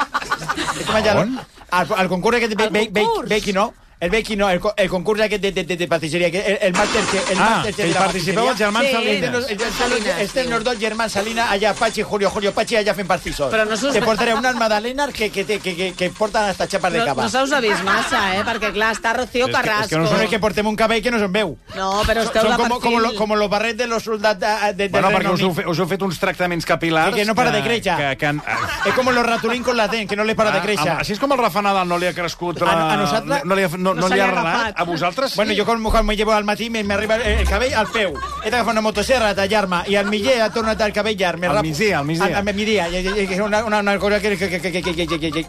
[SPEAKER 2] ¿Dónde?
[SPEAKER 16] Al, al concurso que te be, be- be- Becky no. El Becky no, el, co- el concurs aquest de, de, de, de pastisseria, que el, el màster que... El
[SPEAKER 2] Ah,
[SPEAKER 16] màster
[SPEAKER 2] que hi participeu els germans Salines.
[SPEAKER 16] Salines. Estem els dos germans Salina, allà Pachi, Julio, Julio, Pachi, allà fent pastissos.
[SPEAKER 8] Però no s'us-
[SPEAKER 16] Te portaré unes magdalenes que, que, te- que, que, que porten hasta xapes de
[SPEAKER 8] No,
[SPEAKER 16] cava.
[SPEAKER 8] no se us ha vist massa, eh? Perquè, clar, està Rocío Carrasco.
[SPEAKER 16] és que portem un cabell que no se'n veu.
[SPEAKER 8] No, però esteu
[SPEAKER 16] Són
[SPEAKER 8] de
[SPEAKER 16] com,
[SPEAKER 8] perfil.
[SPEAKER 16] com, lo, com los barrets de los soldats de, de, de
[SPEAKER 2] Bueno, perquè
[SPEAKER 16] Reino
[SPEAKER 2] us heu,
[SPEAKER 16] Unit.
[SPEAKER 2] fe- us heu fet uns tractaments capilars...
[SPEAKER 16] Que no para de créixer.
[SPEAKER 2] Que, que han,
[SPEAKER 16] És com los ratolins con la dent, que no li para de créixer.
[SPEAKER 2] Ah, així és com el Rafa Nadal no li ha crescut... La...
[SPEAKER 16] A, a nosaltres...
[SPEAKER 2] No, no li ha, no, no,
[SPEAKER 16] se
[SPEAKER 2] li ha
[SPEAKER 16] agafat.
[SPEAKER 2] arrelat. A vosaltres sí.
[SPEAKER 16] Bueno, jo quan, quan me llevo al matí me, me arriba el, el cabell al peu. He d'agafar una motosserra a tallar-me i al migdia he tornat al cabell llarg. Me
[SPEAKER 2] Al
[SPEAKER 16] rapo.
[SPEAKER 2] migdia, al migdia.
[SPEAKER 16] Al, al migdia. I- i- i- És una, una, una cosa que... que, que, que, que, que, que, que.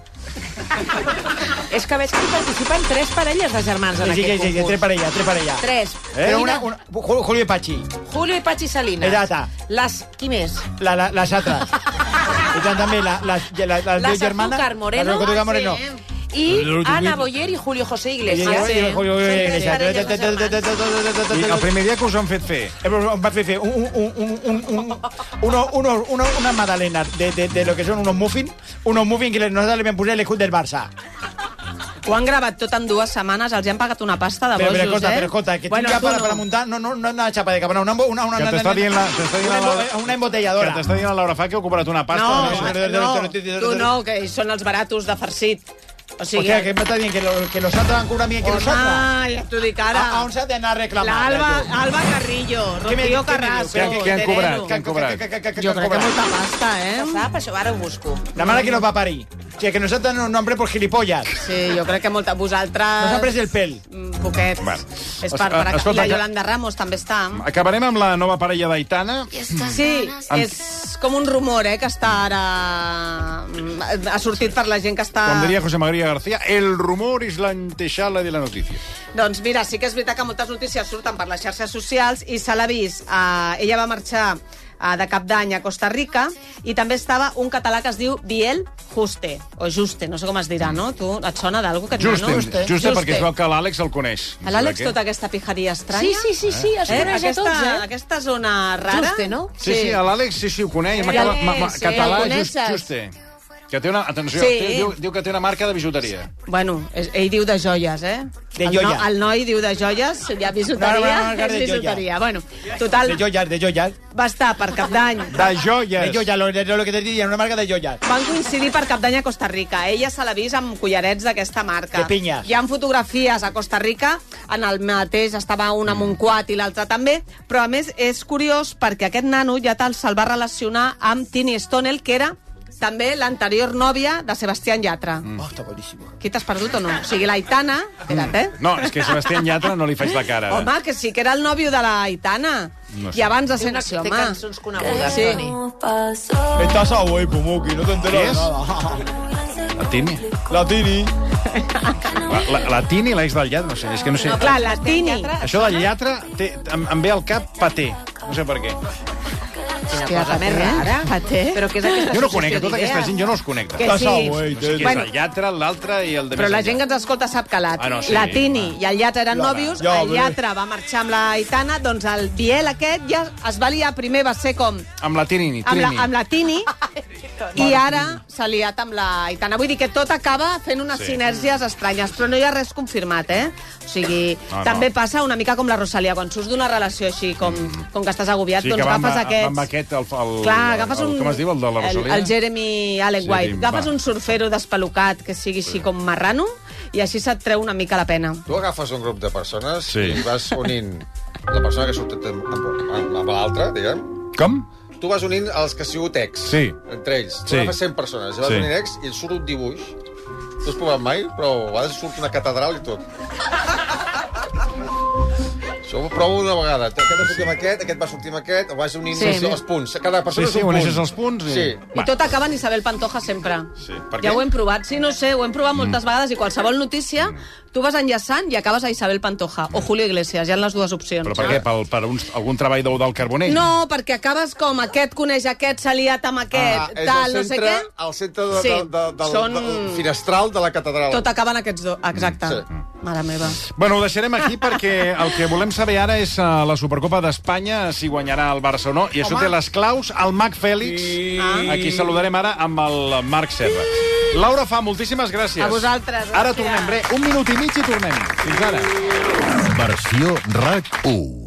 [SPEAKER 3] És que veig que hi participen tres parelles de germans en
[SPEAKER 16] Sí, sí,
[SPEAKER 3] aquest
[SPEAKER 16] sí, sí,
[SPEAKER 3] concurs.
[SPEAKER 16] tres parella, tres parella.
[SPEAKER 3] Tres.
[SPEAKER 16] Eh? Però
[SPEAKER 3] Quina-
[SPEAKER 16] una, una, Ju- Julio i Pachi.
[SPEAKER 3] Julio i Pachi Salinas.
[SPEAKER 16] Exacte.
[SPEAKER 3] Les... Qui més?
[SPEAKER 16] La, la, les altres. I tant, també la, la, la, la, les dues germanes.
[SPEAKER 3] Azúcar Moreno.
[SPEAKER 16] Les Azúcar Moreno.
[SPEAKER 3] I
[SPEAKER 16] Lo último
[SPEAKER 3] Ana
[SPEAKER 16] que-
[SPEAKER 3] Boyer i Julio José
[SPEAKER 16] I-
[SPEAKER 3] Iglesias.
[SPEAKER 16] i- i- Julio Iglesias.
[SPEAKER 3] parelles de
[SPEAKER 2] I el primer dia que us han fet fer...
[SPEAKER 16] Em Eh, va fer fer un, un, un, un, un, uno, uno, uno, una magdalena de, de, de lo que son unos muffins, unos muffins que nosotros le vam posar el escut del Barça.
[SPEAKER 8] Ho han gravat tot en dues setmanes, els hi han pagat una pasta de
[SPEAKER 16] Pero,
[SPEAKER 8] bojos,
[SPEAKER 16] pero escolta,
[SPEAKER 8] eh?
[SPEAKER 16] pero escolta, que
[SPEAKER 8] Bueno,
[SPEAKER 16] tinc
[SPEAKER 8] tu
[SPEAKER 16] capa
[SPEAKER 8] no.
[SPEAKER 16] para montar, no, no, no una chapa de capa, no, una, una, una,
[SPEAKER 2] Que
[SPEAKER 16] una,
[SPEAKER 2] t'està dient la... t'està dient
[SPEAKER 16] una,
[SPEAKER 2] la-
[SPEAKER 16] embo- una
[SPEAKER 2] Que
[SPEAKER 16] embotelladora.
[SPEAKER 2] t'està dient la Laura Fa que heu comprat una pasta.
[SPEAKER 8] No,
[SPEAKER 2] sé.
[SPEAKER 8] no, tu no, que són els baratos de farcit. O sigui...
[SPEAKER 16] Hòstia, que m'està dient que, lo, que los altres han cobrat bien que
[SPEAKER 8] Home,
[SPEAKER 16] nosaltres.
[SPEAKER 8] ja t'ho dic ara.
[SPEAKER 16] A, a on s'ha d'anar a reclamar?
[SPEAKER 8] L'Alba
[SPEAKER 16] ja,
[SPEAKER 8] Alba Carrillo,
[SPEAKER 16] Què
[SPEAKER 8] Rocío
[SPEAKER 16] me diu, què me diu?
[SPEAKER 8] Carrasco.
[SPEAKER 16] Què- què- què han
[SPEAKER 8] Terero.
[SPEAKER 16] cobrat? Què han cobrat? Què- què- què- què-
[SPEAKER 8] Jo
[SPEAKER 16] què
[SPEAKER 8] crec que
[SPEAKER 16] han cobrat?
[SPEAKER 8] molta pasta, eh?
[SPEAKER 3] Sap, això ara ho busco.
[SPEAKER 16] tu. La mare que nos va parir. O sigui, que nosaltres no, no hem pres por gilipollas.
[SPEAKER 8] Sí, jo crec que molta... Vosaltres...
[SPEAKER 16] Nos han pres el pèl.
[SPEAKER 8] Mm, Poquets.
[SPEAKER 2] Bueno.
[SPEAKER 8] És per, per acabar.
[SPEAKER 2] Escolta,
[SPEAKER 8] I la
[SPEAKER 2] que-
[SPEAKER 8] Yolanda Ramos també està.
[SPEAKER 2] Acabarem amb la nova parella d'Aitana.
[SPEAKER 8] Sí, és com un rumor, eh, que està ara... mm, Ha sortit per la gent que està...
[SPEAKER 2] Com diria José María García, el rumor es la antesala de la noticia.
[SPEAKER 8] Doncs mira, sí que és veritat que moltes notícies surten per les xarxes socials i se l'ha vist. Uh, ella va marxar uh, de cap d'any a Costa Rica i també estava un català que es diu Biel Juste, o Juste, no sé com es dirà, no? Tu, et sona d'algú que
[SPEAKER 2] Juste,
[SPEAKER 8] no?
[SPEAKER 2] juste, perquè es veu que l'Àlex el coneix.
[SPEAKER 8] A l'Àlex tota aquesta pijaria estranya?
[SPEAKER 3] Sí, sí, sí, sí, es coneix a
[SPEAKER 8] aquesta,
[SPEAKER 3] tots, eh?
[SPEAKER 8] Aquesta zona rara...
[SPEAKER 3] Juste, no?
[SPEAKER 2] Sí, sí, a l'Àlex sí, sí, ho coneix.
[SPEAKER 8] Sí,
[SPEAKER 2] M'acaba-
[SPEAKER 8] sí,
[SPEAKER 2] ma- ma-
[SPEAKER 8] sí.
[SPEAKER 2] Català,
[SPEAKER 8] El
[SPEAKER 2] just,
[SPEAKER 8] coneixes?
[SPEAKER 2] juste. Que té una... Atenció,
[SPEAKER 8] Sí.
[SPEAKER 2] té, diu, diu que té una marca de bijuteria.
[SPEAKER 8] Bueno, és, ell diu de joies, eh?
[SPEAKER 2] De
[SPEAKER 8] el, no,
[SPEAKER 2] joia.
[SPEAKER 8] el noi diu de joies, ja bisuteria,
[SPEAKER 16] No, no, no, no,
[SPEAKER 8] és
[SPEAKER 16] de joia.
[SPEAKER 8] bisuteria. Bueno, total,
[SPEAKER 16] De joyas, de joyas.
[SPEAKER 8] va estar per cap d'any
[SPEAKER 16] De joyas. De joyas, lo, lo, lo que te diría, una marca de joyas.
[SPEAKER 8] Van coincidir per cap d'any a Costa Rica. Ella se l'ha vist amb collarets d'aquesta marca.
[SPEAKER 16] De pinyes.
[SPEAKER 8] Hi ha fotografies a Costa Rica, en el mateix estava un amb
[SPEAKER 16] Mm.
[SPEAKER 8] un quad i l'altre també, però a més és curiós perquè aquest nano ja tal se'l va relacionar amb Tini Stonel, que era també l'anterior nòvia de Sebastián Yatra.
[SPEAKER 16] Oh, está buenísimo.
[SPEAKER 8] Qui t'has perdut o no? O sigui, l'Aitana... Espera't, eh?
[SPEAKER 2] No, és que Sebastián Llatra no li faig la cara.
[SPEAKER 8] Home, que sí que era el nòvio de l'Aitana.
[SPEAKER 2] Eh. No sé.
[SPEAKER 8] I abans de ser...
[SPEAKER 3] Té una-
[SPEAKER 8] Sí,
[SPEAKER 3] té
[SPEAKER 8] home.
[SPEAKER 3] cançons conegudes,
[SPEAKER 8] Sí.
[SPEAKER 3] Toni.
[SPEAKER 11] Estás a huevo, Moki, no te enteras
[SPEAKER 2] ¿Qué
[SPEAKER 11] de
[SPEAKER 2] es?
[SPEAKER 11] nada.
[SPEAKER 2] La Tini.
[SPEAKER 11] La Tini.
[SPEAKER 2] La, la, la Tini, l'ex del Llatra, no sé, és que no sé...
[SPEAKER 8] No, clar, la Tini.
[SPEAKER 2] Això del Llatra té, em, em ve al cap paté. No sé per què.
[SPEAKER 8] Hòstia, també rara. Paté. Però què és aquesta
[SPEAKER 2] Jo no
[SPEAKER 8] associació
[SPEAKER 2] conec, a tota aquesta
[SPEAKER 8] d'idees?
[SPEAKER 2] gent jo no els conec.
[SPEAKER 8] Que sí.
[SPEAKER 2] No sé qui és
[SPEAKER 8] Bueno.
[SPEAKER 2] el Llatra, l'altre i el de
[SPEAKER 8] Però
[SPEAKER 2] més
[SPEAKER 8] la
[SPEAKER 2] enllà.
[SPEAKER 8] gent que ens escolta sap que la,
[SPEAKER 2] Ah, no, sí,
[SPEAKER 8] la Tini i el Llatra eren
[SPEAKER 2] Jo,
[SPEAKER 8] nòvios,
[SPEAKER 2] jo,
[SPEAKER 8] el
[SPEAKER 2] bé.
[SPEAKER 8] Llatra va marxar amb la Aitana, doncs el Biel aquest ja es va liar, primer va ser com
[SPEAKER 2] Amb la Tini,
[SPEAKER 8] amb la,
[SPEAKER 2] Trini.
[SPEAKER 8] amb la Tini i ara s'ha liat amb la Aitana. Vull dir que tot acaba fent unes
[SPEAKER 2] Sí.
[SPEAKER 8] sinergies estranyes, però no hi ha res confirmat, eh? O sigui,
[SPEAKER 2] No, no.
[SPEAKER 8] també passa una mica com la Rosalia, quan surts d'una relació així, com,
[SPEAKER 2] Mm.
[SPEAKER 8] com que estàs agobiat, doncs
[SPEAKER 2] va amb-
[SPEAKER 8] agafes
[SPEAKER 2] va amb
[SPEAKER 8] aquests...
[SPEAKER 2] aquest, el, el,
[SPEAKER 8] Clar, agafes
[SPEAKER 2] el,
[SPEAKER 8] un...
[SPEAKER 2] Com es diu, el de la Rosalia?
[SPEAKER 8] El, el Jeremy Allen
[SPEAKER 2] Sí,
[SPEAKER 8] White. agafes
[SPEAKER 2] va.
[SPEAKER 8] un surfero despelucat que sigui així com marrano i així se't treu una mica la pena.
[SPEAKER 7] Tu agafes un grup de persones
[SPEAKER 2] Sí.
[SPEAKER 7] i vas unint la persona que surt amb, amb, amb l'altra, diguem.
[SPEAKER 2] Com?
[SPEAKER 7] Tu vas unint els que ha sigut ex.
[SPEAKER 2] Sí.
[SPEAKER 7] Entre ells. Tu
[SPEAKER 2] Sí.
[SPEAKER 7] agafes 100 persones, i vas
[SPEAKER 2] Sí.
[SPEAKER 7] unint ex i et surt un dibuix. No has provat mai, però a vegades surt una catedral i tot. Això ho provo una vegada. Aquest va sortir amb aquest, aquest va sortir amb aquest, vas unint
[SPEAKER 8] Sí.
[SPEAKER 7] sí. els, els punts. Cada persona
[SPEAKER 2] Sí, sí,
[SPEAKER 7] és un
[SPEAKER 2] uneixes
[SPEAKER 7] punt.
[SPEAKER 2] els punts i-
[SPEAKER 7] Sí.
[SPEAKER 8] I tot acaba en Isabel Pantoja sempre.
[SPEAKER 7] Sí, per
[SPEAKER 8] ja
[SPEAKER 7] què?
[SPEAKER 8] ho hem provat, sí, no ho sé, ho hem provat
[SPEAKER 2] Mm.
[SPEAKER 8] moltes vegades i qualsevol notícia tu vas enllaçant i acabes a Isabel Pantoja o Julio Iglesias, hi ha les dues opcions.
[SPEAKER 2] Però per què? Per, per uns, algun treball d'ou del
[SPEAKER 7] Ah.
[SPEAKER 2] Carbonell?
[SPEAKER 8] No, perquè acabes com aquest coneix aquest, s'ha liat amb
[SPEAKER 7] Ah,
[SPEAKER 8] aquest,
[SPEAKER 7] és
[SPEAKER 8] tal,
[SPEAKER 7] el
[SPEAKER 8] no sé
[SPEAKER 7] centre,
[SPEAKER 8] què.
[SPEAKER 7] el centre de,
[SPEAKER 8] Sí.
[SPEAKER 7] de, de, del,
[SPEAKER 8] Són-
[SPEAKER 7] del finestral de la catedral.
[SPEAKER 8] Tot acaba en aquests dos, exacte.
[SPEAKER 7] Mm,
[SPEAKER 8] Mare meva.
[SPEAKER 2] Bueno, ho deixarem aquí perquè el que volem saber ara és uh, la Supercopa d'Espanya, si guanyarà el Barça o no, i això
[SPEAKER 8] Home.
[SPEAKER 2] té les claus al Mac Fèlix.
[SPEAKER 8] Ah.
[SPEAKER 2] Aquí saludarem ara amb el Marc Serra. Laura Fa, moltíssimes gràcies.
[SPEAKER 5] A vosaltres,
[SPEAKER 2] Ara
[SPEAKER 5] gràcies.
[SPEAKER 2] tornem, re, un minut i mig i tornem. Fins ara.
[SPEAKER 7] Versió RAC 1.